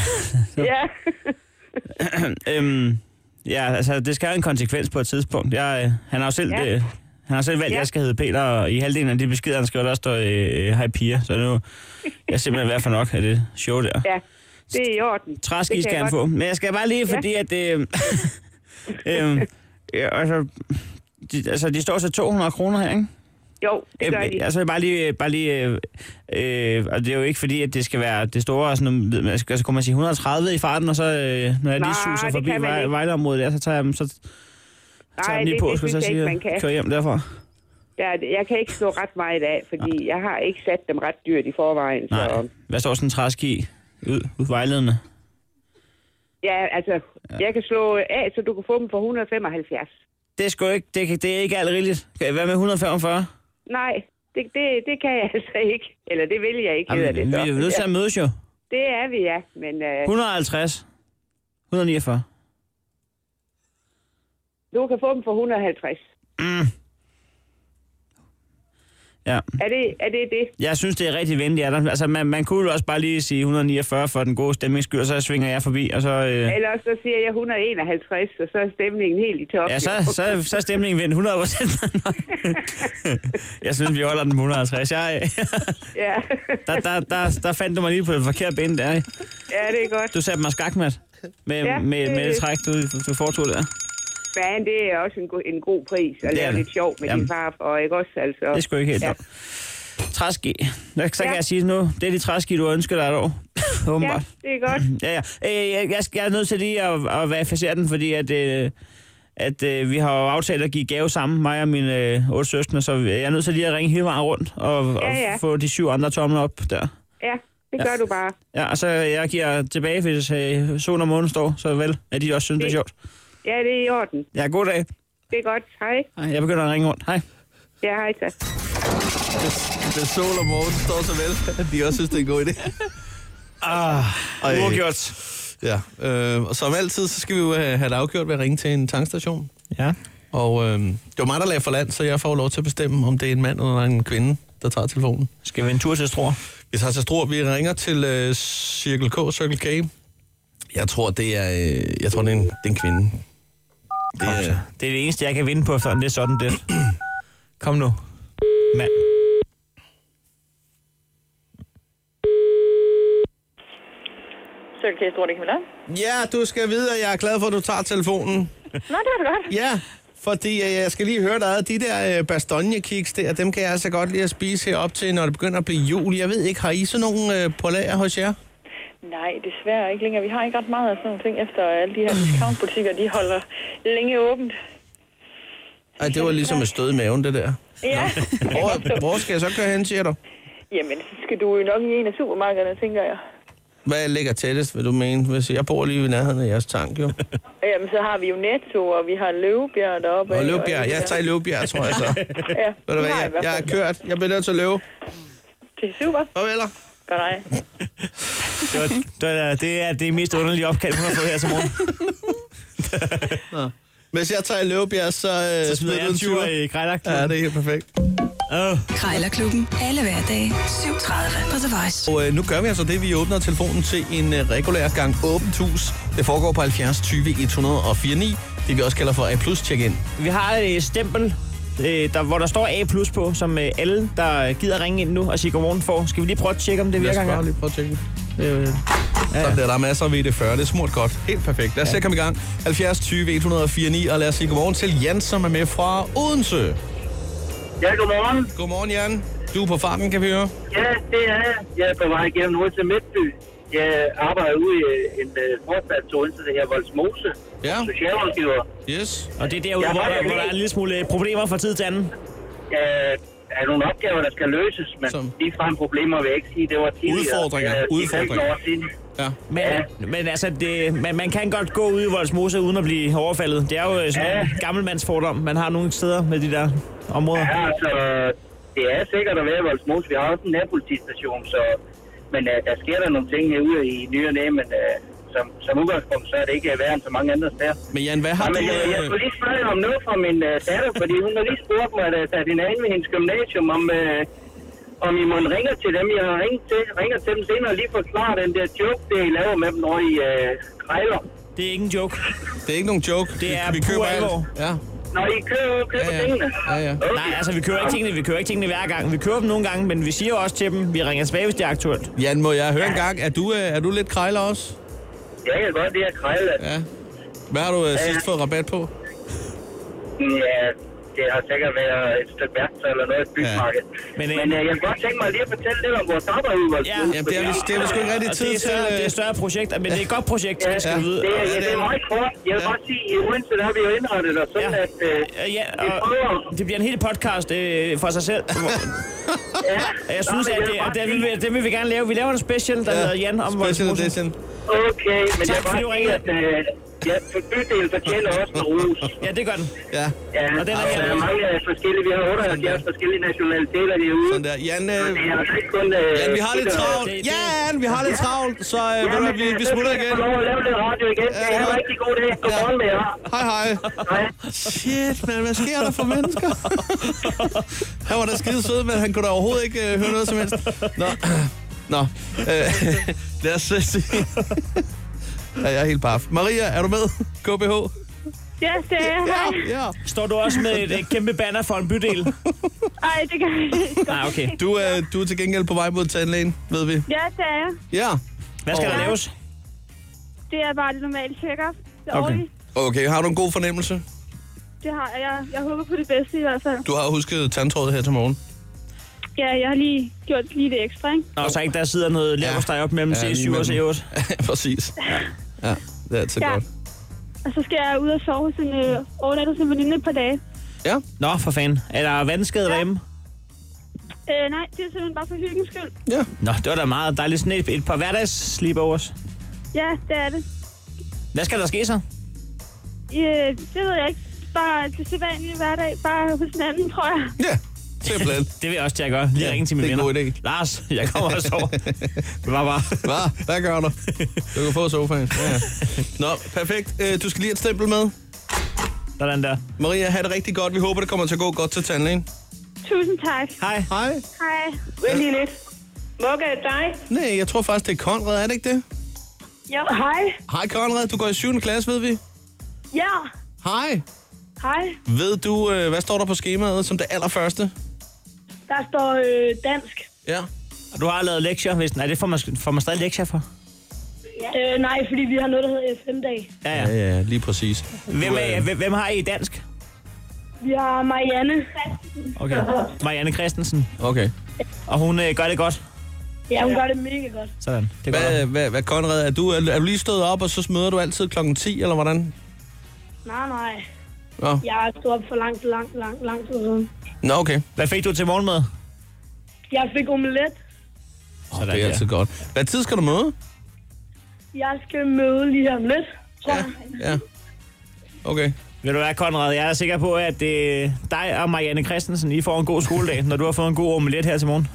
G: Ja,
D: Øhm, ja, altså, det skal have en konsekvens på et tidspunkt. Jeg, øh, han har jo selv,
G: Ja.
D: ja. øh, han har selv valgt, at
G: Ja.
D: jeg skal hedde Peter, og i halvdelen af de beskeder, han skriver, der står, øh, øh, hej piger. Så nu er jeg simpelthen ved at få nok af det show der. Ja.
G: ja. Det er i orden.
D: Træski
G: Det kan
D: skal
G: jeg
D: han
G: godt.
D: få. Men jeg skal bare lige,
G: Ja.
D: fordi at... Øh, øh, ja, altså, de, altså, de står så 200 kroner her, ikke?
G: Jo, det gør
D: Øhm,
G: de.
D: Altså jeg bare lige, bare lige øh, øh, og det er jo ikke fordi, at det skal være det store, sådan, noget, man skal, så kunne man sige 130 i farten, og så øh, når jeg lige
G: Nej,
D: suser
G: det
D: forbi
G: kan man
D: vej,
G: ikke.
D: Vejleområdet der, så tager jeg dem, så tager jeg
G: Nej,
D: dem lige
G: det,
D: på,
G: det
D: skulle
G: synes
D: jeg
G: jeg
D: så
G: ikke,
D: sige,
G: man kan.
D: køre hjem derfra.
G: Ja, det- jeg kan ikke slå ret meget af, fordi jeg har ikke sat dem ret dyrt i forvejen.
D: Nej,
G: Så,
D: hvad står sådan en træski ud, ud vejledende?
G: ja, altså, jeg kan slå af, så du kan få dem for 175.
D: Det er sgu ikke, det, kan- det er ikke alt rigeligt. Okay, Hvad med 145?
G: Nej, det, det, det kan jeg altså ikke. Eller det vil jeg ikke, hedder
D: Jamen,
G: det
D: vi er jo nødt
G: så.
D: til
G: Ja,
D: at mødes jo.
G: det er vi, ja. Men øh,
D: 150. 149.
G: du kan få dem for 150.
D: Mm. Ja,
G: Er det er det? det?
D: jeg synes, det er rigtig venligt af dig. Altså, man, man kunne jo også bare lige sige 149 for den gode stemnings skyld, og så svinger jeg forbi, og så... Øh,
G: Ellers så siger jeg 151, og så er stemningen helt i top.
D: Ja,
G: jo.
D: så, så, så er stemningen vendt 100 Jeg synes, vi holder den på 150. Jeg,
G: Ja.
D: der, der, der, der fandt du mig lige på den forkerte bane der. ikke?
G: ja, det er godt.
D: Du satte mig skakmat med,
G: Ja,
D: ja, med,
G: det-
D: med det træk, du, du foretog der.
G: Men det er også en, go- en god pris, og
D: Det
G: det
D: er
G: er
D: det.
G: lidt sjovt med
D: Jamen.
G: din far, og ikke også altså.
D: Det er sgu ikke helt
G: ja.
D: ja. Træski. Så kan
G: Ja.
D: jeg sige nu, det er de træski, du ønsker dig et år.
G: ja,
D: Åbenbart.
G: det er godt.
D: Ja, ja. Øh, jeg, jeg, skal- jeg er nødt til lige at, at verificere den, fordi at, øh, at øh, vi har jo aftalt at give gave sammen, mig og mine øh, otte søskende, så jeg er nødt til lige at ringe hele vejen rundt og, og
G: Ja, ja.
D: få de syv andre tomler op der.
G: Ja, det gør du bare.
D: Ja, og så jeg giver tilbage, hvis øh, solen og månen står, så vel, at de også synes, det er sjovt.
G: Ja, det er i orden.
D: Ja, god dag.
G: Det er godt. Hej.
D: Ej, Jeg begynder at ringe rundt. Hej.
G: Ja, hej så.
C: Hvis, hvis sol og morgen står så vel, at de også synes, det er en god idé. Ah, Ja, øh, og som altid, så skal vi jo have have det afgjort ved at ringe til en tankstation.
D: Ja.
C: Og øh, det var mig, der lagde for land, så jeg får lov til at bestemme, om det er en mand eller en kvinde, der tager telefonen.
D: Skal vi en tur til Struer?
C: Vi tager til Struer, vi ringer til øh, Circle K, Circle K. Jeg tror, det er, øh, jeg tror, det er en, det er en kvinde. Det
D: Kom så.
C: er,
D: Det er det eneste, jeg kan vinde på, sådan det er sådan det.
C: kom nu.
D: Mand.
F: Circle K, Storting Camilla.
C: Ja, du skal vide, at jeg er glad for, at du tager telefonen.
F: Nå, det var det godt.
C: Ja, fordi øh, jeg skal lige høre dig, ad. de der øh, bastogne-kiks der, dem kan jeg altså godt lide at spise herop til, når det begynder at blive jul. Jeg ved ikke, har I sådan nogle øh, på lager hos jer?
F: Nej, desværre ikke længere. Vi har ikke ret meget af sådan nogle ting, efter alle de her discountbutikker, de holder længe åbent.
C: Ej, det var ligesom et stød i maven, det der.
F: Ja,
C: Hvor, hvor skal jeg så køre hen, siger du?
F: jamen, så skal du jo nok i en af supermarkederne, tænker jeg.
C: Hvad ligger tættest, vil du mene? Hvis jeg bor lige ved nærheden af jeres tank, jo.
F: Og Jamen, så har vi jo Netto, og vi har Løvebjerg deroppe.
C: Og Løvbjerg, jeg tager i Løvbjerg, tror jeg så.
F: Ja,
C: Ved du hvad,
F: Nej,
C: jeg,
F: i hvert
C: jeg er
F: fald.
C: kørt. Jeg bliver nødt til at løbe.
F: Det er super.
C: Farveler.
F: Godt ej.
D: Det, var, det, var, det er det mest underlige opkald, hun har fået her til morgen.
C: Hvis jeg tager i Løvbjerg, øh, så, øh,
D: Så smider jeg
C: du
D: Øh, en tur i Grejlagt.
C: Ja, det er helt perfekt.
D: Uh.
B: Krejlerklubben. Alle hverdage. 7.30 på The Voice.
C: Og øh, nu gør vi altså det, vi åbner telefonen til en øh, regulær gang åbent hus. Det foregår på 70 20 104 9. Det vi også kalder for A plus check-in.
D: Vi har et stempel, øh, der, hvor der står A+, på, som øh, alle, der gider ringe ind nu og sige godmorgen for. Skal vi lige prøve at tjekke, om det
C: Lad
D: virker
C: os bare
D: engang?
C: lige prøve at tjekke.
D: Øh,
C: Ja. Sådan der, der er masser af VD40. Det er smurt godt. Helt perfekt. Lad os ja. se at komme i gang. 70 20 104 9, og lad os sige godmorgen til Jan, som er med fra Odense.
H: Ja, godmorgen.
C: Godmorgen, Jan. Du er på farten, kan vi høre.
H: Ja, det er jeg. Jeg er på vej igennem Odense til Midtby. Jeg arbejder ude i øh, en øh, forstad til Odense, der hedder Voldsmose.
C: Ja.
H: Socialrådgiver.
C: Yes.
D: og det er derude,
H: Jeg
D: hvor,
H: har
D: der,
H: det
D: hvor der er
H: med.
D: en lille smule øh, problemer fra tid til anden.
H: Øh, er nogle opgaver, der skal løses, men
C: Som?
H: de frem problemer vil jeg ikke sige, det var tidligere.
C: Udfordringer.
H: Øh, det er
C: Udfordringer.
H: ikke år siden.
C: Ja.
D: Men,
H: Ja.
D: men altså, det, man, man kan godt gå ud i Voldsmose uden at blive overfaldet. Det er jo øh, sådan
H: Ja.
D: en gammelmandsfordom, man har nogle steder med de der områder.
H: Ja, altså, det er sikkert at være i Voldsmose. Vi har også en nærpolitistation, så... Men øh, der sker der nogle ting herude i ny og næ, men øh, som, som udgangspunkt, så er det ikke værre end så mange andre steder.
C: Men Jan, hvad har
H: Ja, men jeg, jeg
C: du... Øh,
H: skulle lige spørge om noget fra min uh, datter, fordi hun har lige spurgt mig, da jeg satte hende an ved hendes gymnasium, om, uh, om I må ringer til dem, jeg har ringet til, ringer til dem senere og lige forklare den der joke, det I laver med dem, når I uh, krejler.
D: Det er ikke en joke.
C: det er ikke nogen joke.
D: Det er
C: vi, vi
D: pur
C: køber alt.
D: alvor.
C: Ja.
H: Når I køber, køber
C: Ja, ja.
H: tingene.
C: Ja, ja.
H: Okay.
D: Nej, altså, vi kører ikke tingene, vi kører ikke tingene hver gang. Vi kører dem nogle gange, men vi siger jo også til dem, vi ringer tilbage, hvis det er aktuelt.
C: Jan, må jeg høre en gang, er du, øh, er du lidt krejler også?
H: Ja, jeg kan godt det at krejle. Ja.
C: Ja. Hvad har du øh, sidst
H: ja.
C: fået rabat på?
H: Mm, ja, det har sikkert været et stykke værktøj eller noget i et bygmarked.
D: Men,
H: Men,
D: øh,
H: men uh, jeg kunne godt tænke mig lige at fortælle lidt om vores arbejde i vores
D: Ja.
C: Jamen, det er, vi- det er vi sgu ikke rigtig
D: Og
C: tid
D: det er,
C: til...
D: større, det
C: Øh,
D: er større projekter, men det er et godt projekt,
H: Ja,
D: det skal
C: ja.
D: du vide.
H: Det, er,
C: Ja,
H: ja,
C: det
H: det
C: er-
H: er meget kort. Jeg vil
C: Ja.
H: bare sige, at i Odense, der har vi jo indrettet os sådan,
D: Ja.
H: at øh,
D: Øh, Ja,
H: vi prøver
D: og det bliver en hel podcast øh, for sig selv. hvor-
H: Ja.
D: Jeg synes,
H: Nå,
D: at
H: men
D: det,
H: jeg
D: at det,
H: vil
D: vil, vi-
H: bare
D: det vil vi gerne lave. Vi laver en special, der hedder Jan om
C: Special
D: Voldsmose.
C: edition.
H: sige- Okay, men
D: Tak,
H: jeg vil
D: fordi du
H: bare sige,
D: ringede.
H: at øh, ja, for bydelen fortjener også en ros.
D: Ja, det gør den.
C: Ja,
H: Ja,
D: Og den er
H: altså,
D: jeg-
H: mange øh, forskellige. Vi har 78 forskellige nationaliteter herude.
C: sådan der. Jan,
H: Så
C: øh,
H: det er altså ikke kun... Øh,
C: Jan, vi har lidt
H: det, der-
C: travlt.
D: det- det-
C: Jan, vi har lidt travlt, så øh, ved du hvad,
H: men,
C: vi,
H: øh,
C: vi
H: så
C: smutter
H: skal jeg
C: igen.
H: få lov at lave lidt radio igen. Det
C: Ja.
H: er en rigtig god dag. Godmorgen med jer.
C: Hej, hej.
H: Hej.
C: Shit, man, hvad sker der for mennesker? han var da skide sød, men han kunne da overhovedet ikke øh, høre noget som helst. Nå, Nå. Øh, lad os øh, se. ja, jeg er helt paf. Maria, er du med? KBH?
F: Ja, det er jeg. Hej.
C: Ja.
D: Står du også med et, et kæmpe banner for en bydel?
F: Ej, det kan jeg ikke.
D: Nej, okay.
C: Du, øh, du er til gengæld på vej mod tandlægen, ved vi.
F: Ja, det er jeg.
C: Ja.
D: Hvad skal der laves?
F: Det er bare det normale check-up. Det,
D: Okay.
F: okay.
C: Okay, har du en god fornemmelse?
F: det har jeg. Jeg håber på det bedste i hvert fald.
C: Du har husket tandtrådet her til morgen.
F: Ja, jeg har lige gjort lige det ekstra, ikke?
D: Nå, så ikke der sidder noget leverpostej op mellem
C: Ja, lige
D: C7 og
C: mellem.
D: C8.
C: Præcis. Ja. ja, det er altid
F: Ja.
C: godt.
F: Og så skal jeg ud og sove hos en øh, overnatter som veninde et par dage.
C: Ja.
D: Nå, for fanden. Er der vandskade derhjemme?
F: Øh, nej, det er simpelthen bare for hyggens skyld.
C: Ja.
D: Nå, det var da meget dejligt. Sådan et, et par hverdags sleepovers.
F: Ja, det er det.
D: Hvad skal der ske så?
F: Øh, det ved jeg ikke. Bare det sædvanlige hverdag. Bare hos en anden, tror jeg.
C: Ja, simpelthen.
D: Det vil jeg også til at gøre. Lige
C: Ja,
D: ringe til mine
C: det er en
D: venner.
C: god idé.
D: Lars, jeg kommer og sover. Det var bare.
C: Hvad? Hvad gør du? Du kan få sofaen. Ja, ja. Nå, perfekt. Øh, Du skal lige have et stempel med.
D: Sådan der.
C: Maria, have det rigtig godt. Vi håber, det kommer til at gå godt til tandlægen.
F: Tusind tak.
D: Hej.
C: Hej.
F: Hej.
I: Vent lige lidt. Mokka er dig.
C: Nej, jeg tror faktisk, det er Konrad, er det ikke det?
F: Jo.
I: Hej.
C: Hej Konrad, du går i 7. klasse, ved vi.
I: Ja.
C: Hej.
I: Hej.
C: Ved du, øh, hvad står der på skemaet som det allerførste?
I: Der står øh, dansk.
C: Ja.
D: Du har lavet lektier, hvis... Nej, det får man, får man stadig lektier for.
I: Ja. Øh, nej, fordi vi har noget, der hedder FM-dag.
D: Ja, ja.
C: Ja, ja, lige præcis.
D: Hvem, er, hvem, hvem har I i dansk?
I: Vi har Marianne.
D: Okay. Marianne Christensen.
C: Okay.
D: Og hun øh, gør det godt.
I: Ja, hun gør det mega godt.
D: Sådan. Det gør
C: Hvad, hvad, hvad Konrad, er du, er, du- er du lige stået op, og så møder du altid klokken 10, eller hvordan?
I: Nej, nej.
C: Nå,
I: Jeg stod op for langt, langt, langt, langt tid siden.
C: Nå okay.
D: Hvad fik du til morgenmad?
I: Jeg fik omelet.
C: Oh, det er altid godt. Hvad tid skal du møde?
I: Jeg skal møde lige om lidt. tror jeg.
C: Ja. Okay.
D: Vil du være, Konrad? Jeg er sikker på, at øh, dig og Marianne Christensen, I får en god skoledag, når du har fået en god omelet her til morgen.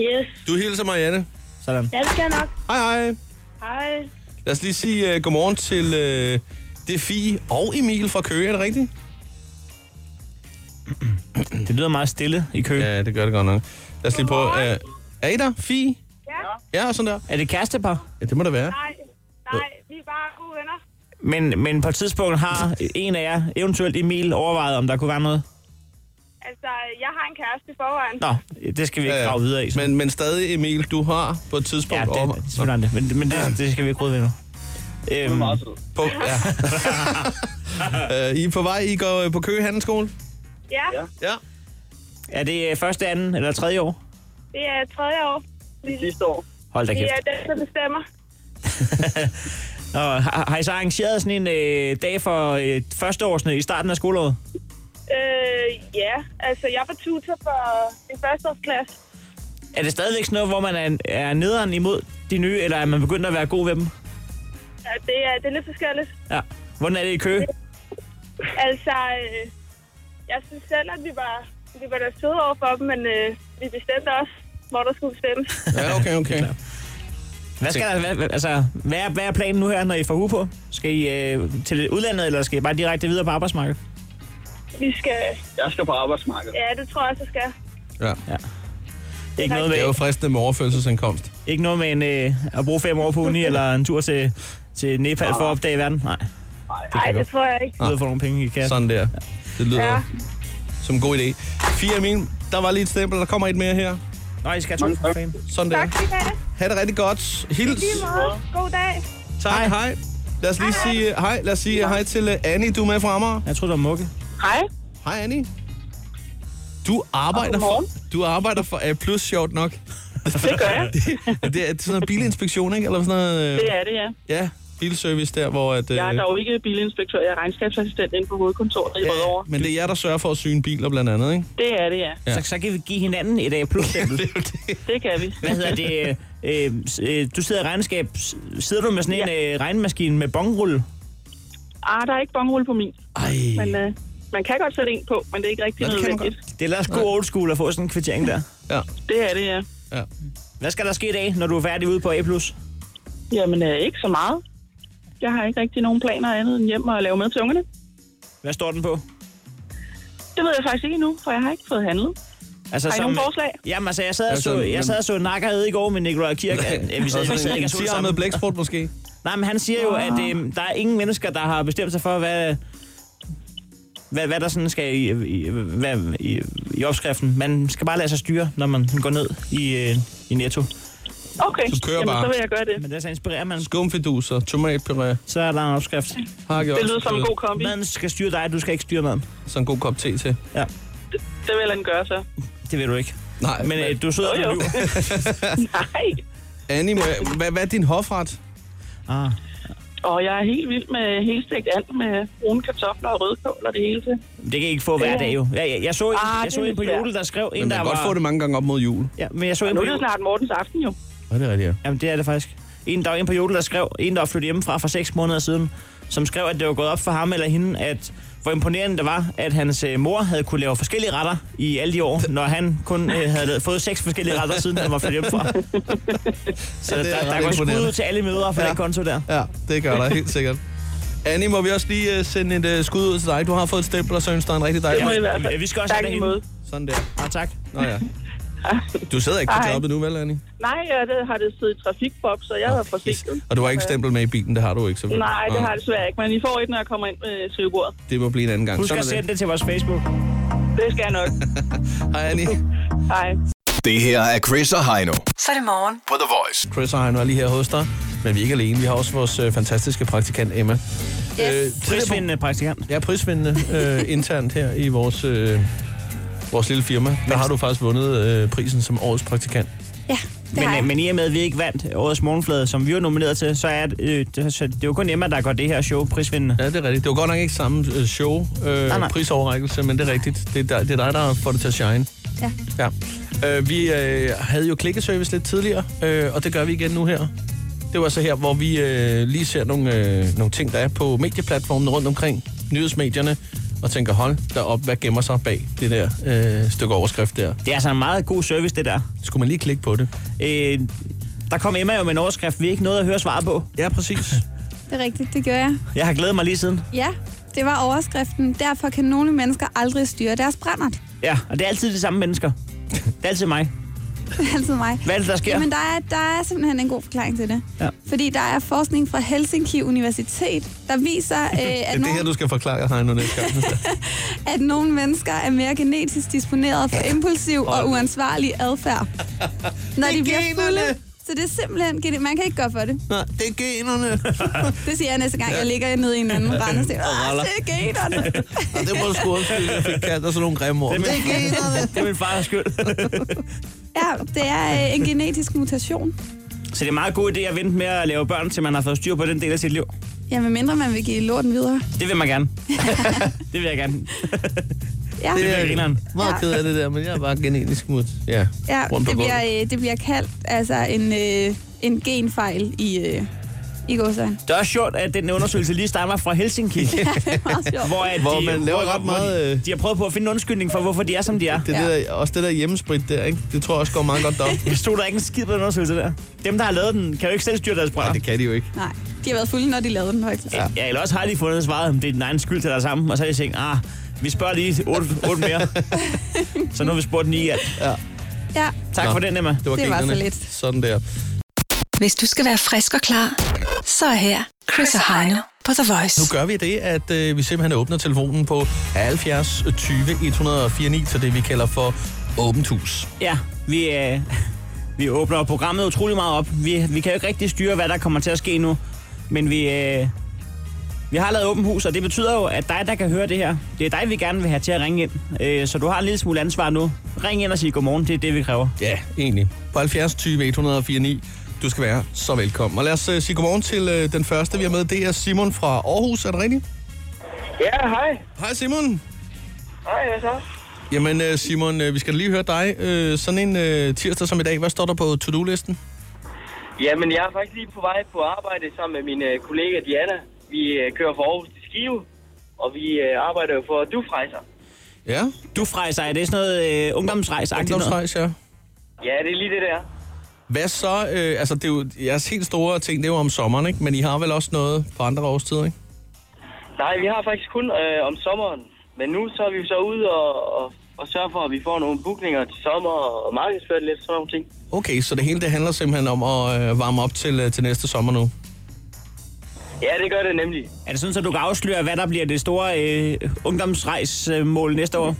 I: Yes.
C: Du hilser Marianne.
D: Sådan.
I: Ja, det skal jeg nok.
C: Hej hej.
I: Hej.
C: Lad os lige sige uh, godmorgen øh, til uh, Defi og Emil fra Køge, er det rigtigt?
D: Det lyder meget stille i kø. Ja.
C: Ja, det gør det godt nok. Lad os lige på. Øh, er I der? Fie?
I: Ja.
C: Ja, og sådan der.
D: Er det kærestepar?
C: Ja, det må det være.
I: Nej, nej, vi er bare gode venner.
D: Men, men på et tidspunkt har en af jer, eventuelt Emil, overvejet, om der kunne være noget?
I: Altså, jeg har en kæreste i forvejen.
D: Nå, det skal vi ikke
C: Ja, ja.
D: grave videre i. så.
C: Øh, Men, men stadig, Emil, du har på et tidspunkt
D: ja,
C: over...
D: det, selvfølgelig er det. Men, men det, det skal vi ikke rydde ved nu. Øhm,
C: På, ja. øh, I er på vej, I går øh, på Køge Handelsskole?
I: Ja,
C: Ja.
D: er det øh, første, anden eller tredje år?
I: det er tredje år.
H: sidste år.
D: Hold da
I: Det
D: kæft.
I: er den, der bestemmer.
D: Og har, har I så arrangeret sådan en øh, dag for øh, førsteårsne i starten af skoleåret?
I: Øh, ja, altså, jeg var tutor for min førsteårsklasse.
D: Er det stadigvæk sådan noget, hvor man er, er nederen imod de nye, eller er man begyndt at være god ved dem?
I: Ja, det er, det er lidt forskelligt.
D: Ja. Hvordan er det i kø?
I: Altså, øh, jeg synes selv, at vi var, vi var da søde over for dem, men øh, vi bestemte også, hvor der skulle bestemmes.
C: Ja, okay, okay.
D: Hvad, skal der, hvad, hvad- altså, hvad, er, hvad er planen nu her, når I får uge på? Skal I øh, til udlandet, eller skal I bare direkte videre på arbejdsmarkedet?
I: Vi skal...
H: Jeg skal på arbejdsmarkedet.
I: Ja, det tror jeg også, jeg skal.
C: Ja.
D: Ikke noget
C: Det er jo
D: med,
C: fristende med overførselsindkomst.
D: ikke noget med en, øh, at bruge fem år på uni, eller en tur til, til Nepal for at opdage verden? Nej,
I: Nej, det tror jeg ikke.
D: ud at få nogle penge i kassen.
C: Sådan der. Det lyder
I: Ja.
C: ja. som en god idé. Fire Emil, der var lige et stempel, der kommer et mere her.
D: Nej, I skal have to for fanden.
C: Sådan der.
I: Tak, vi har det.
C: Ha' det rigtig godt. Hils.
I: Lige måde. God dag.
C: Tak. Hej, hej. Lad os lige sige øh, hej. Lad os sige hej til øh, Annie, du er med fra Amager.
D: Jeg tror, det var Mukke.
F: Hej.
C: Hej Annie. Du arbejder for, du arbejder for A+, plus, sjovt nok.
F: Det gør jeg.
C: Det, det er sådan noget bilinspektion, ikke? Eller sådan noget, øh,
F: Det er det, ja.
C: ja, bilservice der, hvor... At, øh,
F: Jeg er dog ikke bilinspektør. Jeg er regnskabsassistent inde på hovedkontoret i Rødovre.
C: men det er jer, der sørger for at syne biler blandt andet, ikke?
F: Det er det, ja.
D: Ja. Så, så kan vi give hinanden et A plus
C: Det er jo det.
F: Det kan vi.
D: Hvad hedder det? øh, Øh, s- øh, du sidder i regnskab. S- Sidder du med sådan en ja. øh, regnmaskine med bongrulle?
F: Ah, der er ikke bongerulle på min.
C: Ej.
F: Men øh, man kan godt sætte en på, men det er ikke rigtig
C: Nå, det kan man
F: nødvendigt.
D: Det er ellers god old school at få sådan en kvittering der.
C: Ja,
F: Det er det, ja.
C: ja.
D: Hvad skal der ske i dag, når du er færdig ude på A+. Ej,
F: Jamen, øh, ikke så meget. Jeg har ikke rigtig nogen planer andet end hjem og lave mad til ungerne.
D: Hvad står den på?
F: Det ved jeg faktisk ikke endnu, for jeg har ikke fået handlet.
D: Altså,
F: Har I
D: sammen
F: nogle
D: med-
F: forslag?
D: Jamen, altså, jeg sad og
C: Altså,
D: så, jeg sad og så nakker Ede i går med Nikolaj Kirk. Ja, vi sad, vi sad
C: en, en
D: ikke og så det
C: tiger med
D: sammen.
C: blæksport måske.
D: Nej, men han siger jo, at
F: Ah.
D: øh, der er ingen mennesker, der har bestemt sig for, hvad, hvad, hvad der sådan skal i, i, hvad, i, i opskriften. Man skal bare lade sig styre, når man går ned i, øh, i Netto.
F: Okay,
C: Du kører
F: Jamen,
C: bare.
F: så vil jeg gøre det.
D: Men det så inspirerer man,
C: Skumfiduser, tomatpuré,
D: så er der en opskrift.
C: hakke
F: Det lyder som en god kombi.
D: Maden skal styre dig, du skal ikke styre maden.
C: Så en god kop te til.
F: Det vil han gøre så.
D: Det ved du ikke.
C: Nej,
D: Men øh, du sidder og
F: Jo, jo.
D: lyver.
F: Nej.
C: Annie, må jeg- hvad, hvad er din hofret?
D: Ah.
F: Og jeg er helt vild med helstegt and med brune kartofler og rødkål og det hele til.
D: Det kan I ikke få hver dag jo. Jeg, jeg, jeg så en,
F: Ah,
D: jeg så
F: det er
D: en på
F: svært.
D: jodel, der skrev en,
C: Men man
D: der
C: kan
D: var...
C: godt få det mange gange op mod jul.
D: Ja, men jeg så en
F: Nu
D: på
F: er det jo
D: jodel.
F: snart Mortens aften jo.
C: Ja, det er rigtigt, ja.
D: Jamen, det er det faktisk. En, der var en på jodel, der skrev, en, der var flyttet hjemmefra for 6 måneder siden, som skrev, at det var gået op for ham eller hende, at hvor imponerende det var, at hans øh, mor havde kunne lave forskellige retter i alle de år, når han kun øh, havde lavet- fået seks forskellige retter, siden han var flyttet hjemmefra. Så der,
C: det er
D: der
C: ret
D: går skud
C: imponerende.
D: ud til alle mødre for
C: Ja.
D: ja. den konto der.
C: Ja, det gør der helt sikkert. Annie, må vi også lige øh, sende et øh, skud ud til dig? Du har fået et stempel, og så ønsker dig en rigtig dejlig
F: Det må
C: dag.
F: i hvert
D: Ja,
F: fald.
D: vi skal også
F: Tak
D: have
F: i
D: hende.
F: måde.
C: Sådan der.
D: Ah, tak.
C: Nå ja. Du sidder ikke på
F: Hej.
C: jobbet nu, vel, Annie?
F: Nej, jeg det har det siddet i trafikboks, og jeg var forsinket.
C: Og du har ikke stempel med i bilen, det har du ikke, selvfølgelig.
F: Nej, det har jeg desværre ikke, men I får et, når jeg kommer ind med skrivebordet.
C: Det må blive en anden gang.
D: Husk
C: Sådan
D: at
C: er det.
D: sende det til vores Facebook.
F: Det skal jeg nok.
C: Hej, Annie.
F: Hej.
E: Det her er Chris og Heino
B: Så er det morgen.
E: på The Voice.
C: Chris og Heino er lige her hos dig. Men vi er ikke alene. Vi har også vores øh, fantastiske praktikant, Emma. Yes. Øh, tidligere på-
D: Prisvindende praktikant.
C: Ja, prisvindende øh, internt her i vores, øh, vores lille firma. Der har du faktisk vundet øh, prisen som årets praktikant.
A: Ja, det har
D: Men,
A: jeg.
D: øh, men i og med, at vi ikke vandt årets morgenflade, som vi var nomineret til, så er det, øh, det, så det er jo kun Emma, der går det her show prisvindende.
C: Ja, det er rigtigt. Det var godt nok ikke samme øh, show, øh,
D: Nej, nej.
C: prisoverrækkelse, men det er rigtigt. Det er, dig- det er dig, der får det til at shine.
A: Ja.
C: ja. Øh, vi øh, havde jo klikkeservice lidt tidligere, øh, og det gør vi igen nu her. Det var så her, hvor vi øh, lige ser nogle, øh, nogle ting, der er på medieplatformen rundt omkring, nyhedsmedierne, og tænker, hold derop, hvad gemmer sig bag det der øh, stykke overskrift der?
D: Det er altså en meget god service, det der.
C: Skulle man lige klikke på det?
D: Øh, der kom Emma jo med en overskrift, vi ikke nåede at høre svaret på.
C: Ja, præcis.
A: Det er rigtigt, det gør jeg.
D: Jeg har glædet mig lige siden.
A: Ja, Det var overskriften. Derfor kan nogle mennesker aldrig styre deres brændert.
D: Ja, og det er altid de samme mennesker. Det er altid mig.
A: Det er altid mig.
D: Hvad er det, der sker?
A: Jamen, der er, der er simpelthen en god forklaring til det.
D: Ja.
A: Fordi der er forskning fra Helsinki Universitet, der viser,
C: Det
A: øh, at,
C: er det
A: nogle,
C: her, du skal forklare, Heino, næste gang.
A: at nogle mennesker er mere genetisk disponeret for impulsiv og uansvarlig adfærd, når de bliver fulde.
C: generne.
A: Så det er simpelthen gene- Man kan ikke gøre for det.
C: Nej, det er generne.
A: Det siger jeg næste gang, jeg ligger nede i en anden rand og siger, "Åh,
C: raller."
A: det er generne.
C: Og det må du sgu undskylde, jeg fik kaldt dig sådan nogle grimme ord.
D: Det er
C: Det er
D: min-
C: generne.
D: Det er min fars skyld.
A: Ja, det er øh, en genetisk mutation.
D: Så det er en meget god idé at vente med at lave børn, til man har fået styr på den del af sit liv.
A: Ja, medmindre man vil give lorten videre.
D: Det vil man gerne. det vil jeg gerne.
A: Ja,
D: Det bliver grineren.
C: Meget ked af det der, men jeg er bare genetisk mut. Ja,
A: ja
C: rundt på
A: det,
C: gulvet.
A: bliver, øh, det bliver kaldt altså en, øh, en genfejl i, øh, i gåsøjne.
D: Det er også sjovt, at den undersøgelse lige stammer fra Helsinki.
A: Det er meget sjovt.
D: Hvor, at
C: Hvor
D: de,
C: man laver
D: hvor-
C: ret
D: hvor
C: meget,
D: De,
C: øh,
D: de har prøvet på at finde en undskyldning for, hvorfor de er, som de er.
C: Det
A: Ja.
C: der, også det der hjemmesprit der, ikke? det tror jeg også går meget godt op.
D: Jeg stod der ikke en skid på den undersøgelse der. Dem, der har lavet den, kan jo ikke selv styre deres
C: Nej,
D: brænder.
C: det kan de jo ikke.
A: Nej, de har været fulde, når de lavede den faktisk. Ja.
D: Ja. ja, eller også har de fundet svaret, om det er din egen skyld til dig sammen, og så har de tænkt, ah, vi spørger lige otte, otte mere. så nu har vi spurgt ni i alt.
A: ja.
D: Tak
C: Nå.
D: for den, Emma.
C: Det var,
A: Det var
C: generne.
A: så lidt.
C: Sådan der.
B: Hvis du skal være frisk og klar, så er her Chris og Heino på The Voice.
C: Nu gør vi det, at øh, vi simpelthen åbner telefonen på 70 20 104 9, så det vi kalder for åbent hus.
D: Ja, vi, øh, vi åbner programmet utrolig meget op. Vi, vi kan jo ikke rigtig styre, hvad der kommer til at ske nu. Men vi, øh, vi har lavet åben hus, og det betyder jo, at dig, der kan høre det her, det er dig, vi gerne vil have til at ringe ind. Øh, så du har en lille smule ansvar nu. Ring ind og sig godmorgen, det er det, vi kræver.
C: Ja, egentlig. På 70 20 104 9. Du skal være så velkommen. Og lad os øh, sige godmorgen til øh, den første, vi har med. Det er Simon fra Aarhus. Er det rigtigt?
H: Ja, hej.
C: Hej Simon.
H: Hej, hvad så?
C: Jamen øh, Simon, øh, vi skal da lige høre dig. Øh, Sådan en øh, tirsdag som i dag, hvad står der på to-do-listen?
H: Jamen, jeg er faktisk lige på vej på arbejde sammen med min øh, kollega Diana. Vi øh, kører fra Aarhus til Skive, og vi øh, arbejder jo for dufrejser.
C: Ja,
D: Du frejser, er det sådan noget øh, ungdomsrejsagtigt noget?
C: ungdomsrejse, ja.
H: Ja, det er lige det der.
C: Hvad så? Øh, altså, det er jo, jeres helt store ting, det er jo om sommeren, ikke? Men I har vel også noget på andre årstider, ikke?
H: Nej, vi har faktisk kun øh, om sommeren. Men nu så er vi jo så ude og, og, og sørger for, at vi får nogle bookninger til sommer og markedsfører det lidt sådan nogle ting.
C: Okay, så det hele det handler simpelthen om at øh, varme op til, øh, til næste sommer nu.
H: Ja, det gør det nemlig.
D: Er det sådan, så du kan afsløre, hvad der bliver det store øh, ungdomsrejsmål næste år?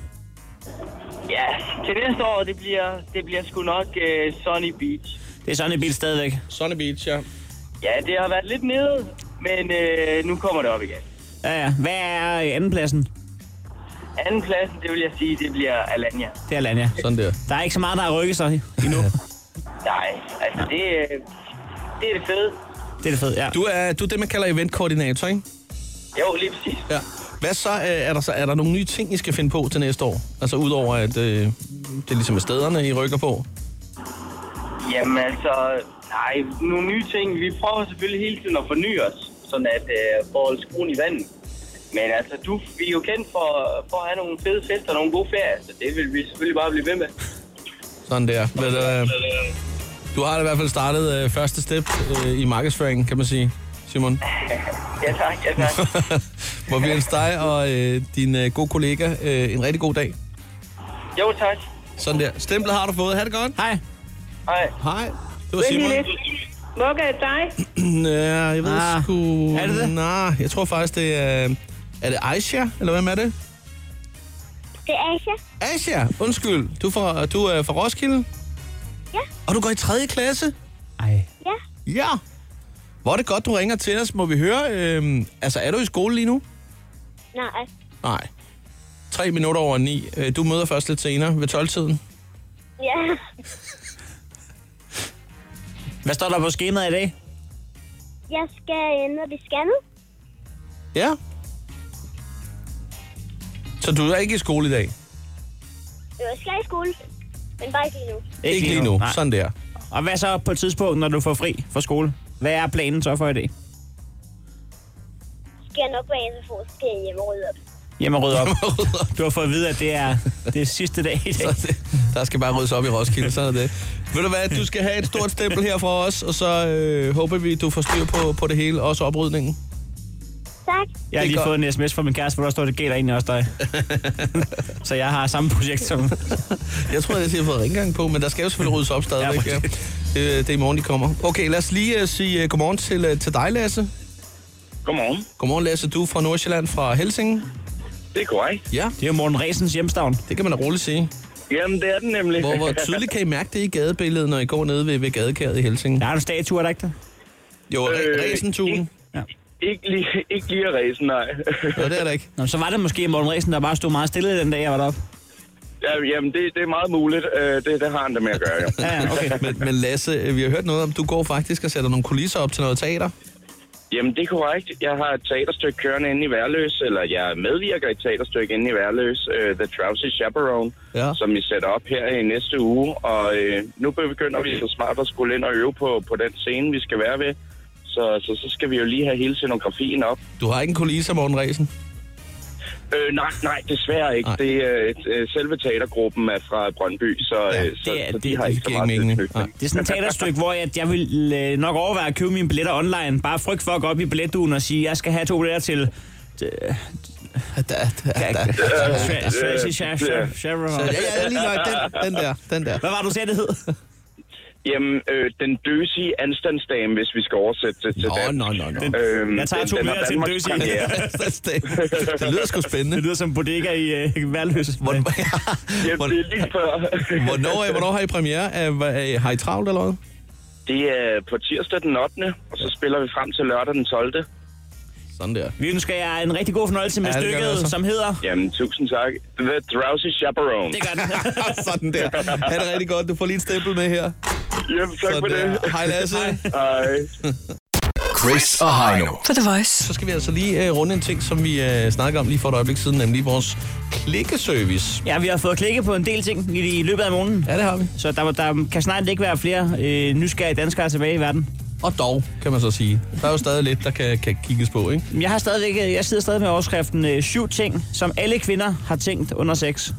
H: Ja, til næste år, det bliver, det bliver sgu nok øh, Sunny Beach.
D: Det er sådan et bil stadigvæk.
C: Sunny Beach, ja.
H: Ja, det har været lidt nede, men øh, nu kommer det op igen.
D: Ja, ja. Hvad er øh, andenpladsen?
H: Anden pladsen, det vil jeg sige, det bliver Alanya.
D: Det er Lanja.
C: Sådan der.
D: Der er ikke så meget, der har rykket sig endnu.
H: Nej, altså det, øh, det er det fede.
D: Det er det fedt, ja.
C: Du er, du er det, man kalder eventkoordinator, ikke?
H: Jo, lige præcis.
C: Ja. Hvad så? Øh, er, der så er der nogle nye ting, I skal finde på til næste år? Altså, udover at øh, det er ligesom er stederne, I rykker på.
H: Jamen altså, nej, nogle nye ting. Vi prøver selvfølgelig hele tiden at forny os, sådan at øh, for at holde skruen i vandet. Men altså, du, vi er jo kendt for, for at have nogle fede fester og nogle gode ferier, så det vil vi selvfølgelig bare blive ved med.
C: Sådan der. Men, øh, du har i hvert fald startet øh, første step øh, i markedsføringen, kan man sige, Simon.
H: Ja tak, ja tak.
C: Må vi ønske dig og øh, din øh, gode kollega øh, en rigtig god dag.
H: Jo tak.
C: Sådan der. Stemplet har du fået. Ha' det godt.
D: Hej.
H: Hej.
C: Hej. Det var
I: Vent
C: Simon.
I: lige lidt. Mokka er dig.
C: Ja, jeg ved
D: Ah.
C: sgu...
D: Er det det?
C: Nej, jeg tror faktisk, det er... Er det Aisha, eller hvem er det?
J: Det er Asia.
C: Aisha, undskyld. Du er fra, du er fra Roskilde?
J: Ja.
C: Og du går i 3. klasse?
D: Ej.
J: Ja,
C: Ja. Hvor er det godt, du ringer til os. Må vi høre, øhm, altså er du i skole lige nu?
J: nej.
C: Nej. 3 minutter over 9. Du møder først lidt senere ved 12-tiden.
J: Ja,
D: Hvad står der på skemaet i dag?
J: jeg skal øh, ned og blive scannet.
C: Ja. Så du er ikke i skole i dag?
J: Jeg skal i skole, men bare ikke lige nu.
C: Ikke lige nu.
D: Nej.
C: Sådan der.
D: Og hvad så på et tidspunkt, når du får fri fra skole? Hvad er planen så for i dag?
J: Skal jeg nok være SFO, så skal jeg hjem og rydde op.
D: Hjem og rydde op. Du har fået at vide, at det er det er sidste dag i dag.
C: Så det- Der skal bare ryddes op i Roskilde, sådan er det. Ved du hvad, du skal have et stort stempel her fra os, og så øh, håber vi, du får styr på, på det hele, også oprydningen.
J: Så
G: tak.
D: Jeg har lige fået en sms fra min kæreste, hvor der står, det gælder egentlig også dig. så jeg har samme projekt som...
C: Jeg tror, jeg har fået ringgang på, men der skal jo selvfølgelig ryddes op stadigvæk. Ja, Øh, det, det er i morgen, de kommer. Okay, lad os lige uh, sige uh, godmorgen til, uh, til dig, Lasse.
H: Godmorgen.
C: Godmorgen, Lasse. Du er fra Nordsjælland, fra Helsingen.
H: Det er korrekt.
C: Ja.
D: Det er jo Morten Resens hjemstavn.
C: Det kan man da roligt sige.
H: Jamen, det er den nemlig.
C: Hvor, hvor tydeligt kan I mærke det i gadebilledet, når I går nede ved, ved gadekæret i Helsingen?
D: Der er en statue, er der ikke det?
C: Jo, øh, Resenturen.
D: Ja.
H: Ikke lige, ikke lige at ræse, nej.
C: Nå, det er der ikke.
D: Nå, så var det måske Morten Resen, der bare stod meget stille den dag, jeg var deroppe.
H: Ja, jamen, det, det er meget muligt. Øh, Det, det har han det med at gøre, jo.
D: Ja, ja, okay.
C: Men, men Lasse, øh, vi har hørt noget om, du går faktisk og sætter nogle kulisser op til noget teater.
H: Jamen, det er korrekt. Jeg har et teaterstykke kørende inde i Værløs, eller jeg medvirker i et teaterstykke inde i Værløs, uh, The Drowsy Chaperone,
C: ja.
H: som vi sætter op her i næste uge. Og uh, nu begynder vi så smart at skulle ind og øve på, på den scene, vi skal være ved. Så, så, så skal vi jo lige have hele scenografien op.
C: Du har ikke en kulisse, Morten Resen.
H: Øh, nej, nej, desværre ikke. Det, øh, øh, selve teatergruppen er fra Brøndby, så, ja, det, så,
D: det er-
H: så de
D: det-
H: har
D: det
H: ikke så
C: giver
H: meget
C: ikke mening.
H: tilknytning.
D: Det er sådan et teaterstykke, hvor jeg, jeg vil øh, nok overveje at købe mine billetter online. Bare frygt for at gå op i billetduen og sige, jeg skal have to billetter til... øh,
C: Da, da, da. Så, ja, ja, lige nok. Den, den der, den der.
D: Hvad var det, du sagde, det hed?
H: Jamen, øh, den døsige anstandsdame, hvis vi skal oversætte det til
C: Nå,
H: dansk.
C: nå, nå, nå.
H: Øhm,
D: Jeg tager to
H: har
D: billetter til en
H: Danmarks
D: døsig.
H: premiere.
C: det lyder sgu spændende.
D: Det lyder som bodega i øh, Værløs. Hvor,
H: Jamen, det er lige før.
C: Hvornår, øh, hvornår har I premiere? Er, er, har I travlt eller hvad?
H: Det er på tirsdag den 8., og så spiller vi frem til lørdag den 12.
C: Sådan der.
D: Vi ønsker jer en rigtig god fornøjelse med
C: Ja, det gør vi
D: stykket,
C: også.
D: som hedder...
H: Jamen, tusind tak. The Drowsy Chaperone.
D: Det gør den.
C: Sådan der. Ha' det rigtig godt. Du får lige et stempel med her.
H: Jamen, tak
C: Sådan
H: for det.
C: der. Hej Lasse.
H: Hej.
E: Chris og Heino.
B: På The Voice.
C: Så skal vi altså lige uh, runde en ting, som vi uh, snakkede om lige for et øjeblik siden, nemlig vores klikkeservice.
D: Ja, vi har fået klikket på en del ting i, i løbet af morgenen.
C: Ja, det har vi.
D: Så der, der kan snart ikke være flere øh, nysgerrige danskere tilbage i verden.
C: Og dog, kan man så sige. Der er jo stadig lidt, der kan, kan kigges på, ikke?
D: Men Jeg, har stadigvæk, øh, jeg sidder stadig med overskriften øh, syv ting, som alle kvinder har tænkt under sex.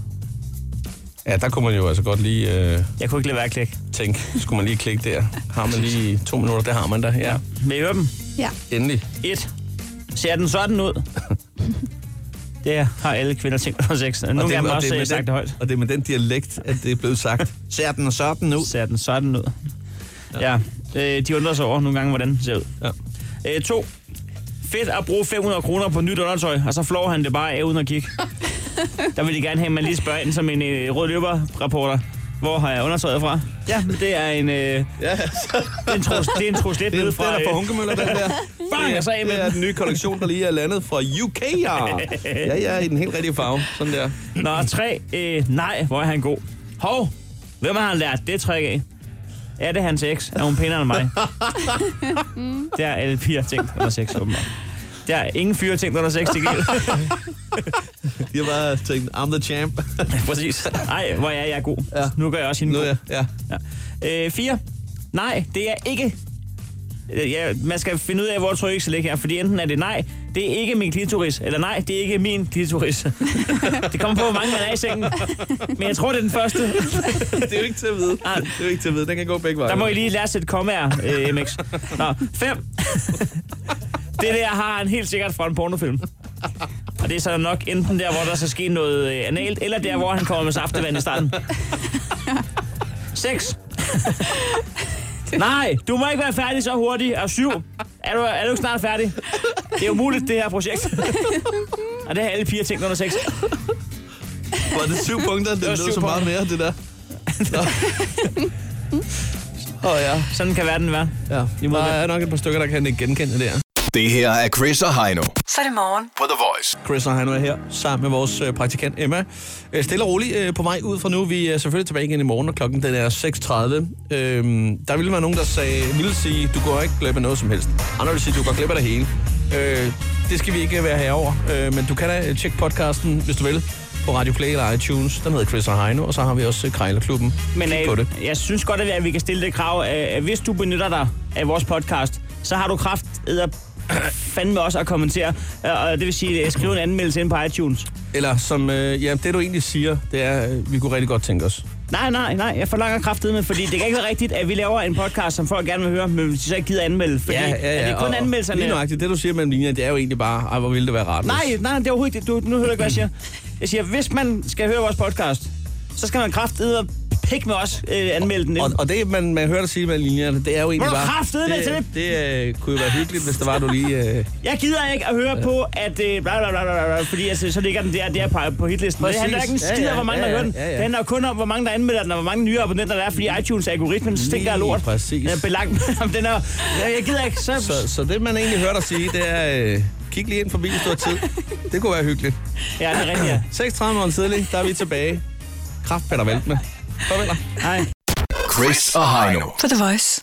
C: Ja, der kunne man jo altså godt lige uh,
D: Jeg kunne ikke lade være at klikke.
C: tænke, skulle man lige klikke der? Har man lige to minutter? Det har man da, ja.
D: Vil I høre dem?
A: Ja.
C: Endelig.
D: 1. Ser den sådan ud? Det har alle kvinder tænkt under sex. Nogle gange har man også
C: med
D: øh, sagt det højt.
C: den, og det er med den dialekt, at det er blevet sagt. Ser den sådan ud?
D: Ser den sådan ud? Ja. ja. Øh, de undrer sig over nogle gange, hvordan den ser ud.
C: Ja.
D: Øh, to. Fedt at bruge 500 kroner på nyt undertøj, og så flår han det bare af uden at kigge. Der vil de gerne have, at man lige spørger ind som en øh, rød løber-rapporter. Hvor har jeg undertøjet fra? Ja, det er en, øh, det
C: Ja, så,
D: er en trus, det er en truslet
C: det er
D: ned
C: den
D: fra...
C: er
D: øh,
C: fra Hunkemøller, den der.
D: Bang, og så af med
C: det er
D: den.
C: den nye kollektion, der lige er landet fra UK. Ja, ja, ja i den helt rigtige farve. Sådan der.
D: Nå, tre. Øh, nej, hvor er han god. Hov, hvem har han lært det trick af? Er det hans eks? Er hun pænere end mig? Der er alle piger tænkt under sex, åbenbart. Der er ingen fyre tænkt under sex til gengæld.
C: De har bare tænkt, I'm the champ.
D: Præcis. Nej, hvor er jeg god.
C: Ja.
D: Nu gør jeg også hende
C: Nu
D: god.
C: er jeg, ja.
D: Ja. Øh, fire. Nej, det er ikke. Øh, Ja, man skal finde ud af, hvor tror jeg ikke skal ligge her, fordi enten er det nej, det er ikke min klitoris, eller nej, det er ikke min klitoris. det kommer på, hvor mange man er i sengen. Men jeg tror, det er den første.
C: Det er jo ikke til at vide. Det er jo ikke til at vide. Den kan gå begge veje.
D: Ah. Der må I lige lære at sætte kommaer, øh, MX. Nå, fem. det der har han helt sikkert fra en pornofilm. Og det er så nok enten der, hvor der skal ske noget øh, analt, eller der, hvor han kommer med saftevand i starten. Seks. Nej, du må ikke være færdig så hurtigt. Og syv. Er du, er du ikke snart færdig? Det er umuligt, det her projekt. Og det har alle piger tænkt under sex.
C: Var det syv punkter? Det,
D: var
C: det lød
D: syv
C: så meget mere, det der. Nå. Åh oh, ja.
D: Sådan kan verden være.
C: ja.
D: I må
C: Der
D: være.
C: er nok et par stykker, der kan ikke genkende det der.
E: Det her er Chris og Heino
B: Så er det morgen.
E: på The Voice.
C: Chris og Heino er her sammen med vores øh, praktikant Emma. Øh, Stille og roligt øh, på vej ud fra nu. Vi er selvfølgelig tilbage igen i morgen, og klokken den er 6.30. Øhm, der ville være nogen, der sagde, ville sige, du går ikke glip af noget som helst. Andre vil sige, du går glip af det hele. Øh, det skal vi ikke være herover, øh, men du kan da øh, tjekke podcasten, hvis du vil, på Radio Play eller iTunes. Den hedder Chris og Heino, og så har vi også øh, Krejlerklubben.
D: Men
C: Kig
D: øh,
C: på det.
D: jeg synes godt, at vi kan stille det krav, at, at hvis du benytter dig af vores podcast, så har du kraft edder fandme også at kommentere. Øh, Og det vil sige, at skrive en anmeldelse ind på iTunes.
C: Eller som, øh, ja, det du egentlig siger, det er, øh, vi kunne rigtig godt tænke os.
D: Nej, nej, nej, jeg forlanger kraftedeme, fordi det kan ikke være rigtigt, at vi laver en podcast, som folk gerne vil høre, men hvis de så ikke gider anmelde, fordi
C: Ja, ja, ja.
D: er det kun
C: og- og
D: anmeldelserne?
C: Lige nøjagtigt, det du siger mellem linjerne, det er jo egentlig bare, ej, hvor ville det være rart. hvis-
D: Nej, nej, det er overhovedet ikke det. Du, nu hører du ikke, hvad jeg siger. Jeg siger, hvis man skal høre vores podcast, så skal man kraftedeme pik med os øh, anmelde den.
C: Og, og det, man, man hører dig sige mellem linjerne, det er jo egentlig
D: Hvor er du
C: bare...
D: kraftedeme til det?
C: det, det øh, kunne jo være hyggeligt, hvis det var, du lige... Øh,
D: Jeg gider ikke at høre ja. på, at øh, bla, bla, bla, bla, bla, fordi altså, så ligger den der, der på, på hitlisten. Men Det
C: Præcis.
D: handler ikke en
C: Ja,
D: skid om,
C: ja,
D: hvor mange
C: ja,
D: der
C: ja,
D: hører den.
C: ja, ja.
D: Det handler kun om, hvor mange der anmelder den, og hvor mange nye abonnenter der er, fordi iTunes algoritmen stinker af lort.
C: præcis.
D: Den er belagt med, om den er, Ja, jeg gider ikke. Så,
C: så, så det, man egentlig hører dig sige, det er... Øh, kig lige ind forbi, hvis du har tid. Det kunne være hyggeligt.
D: Ja, det er rigtigt, ja.
C: 36 måneder tidlig, der er vi tilbage. Kraft Peter Veltme. Farvel.
D: Hej.
E: Chris og Heino.
B: På The Voice.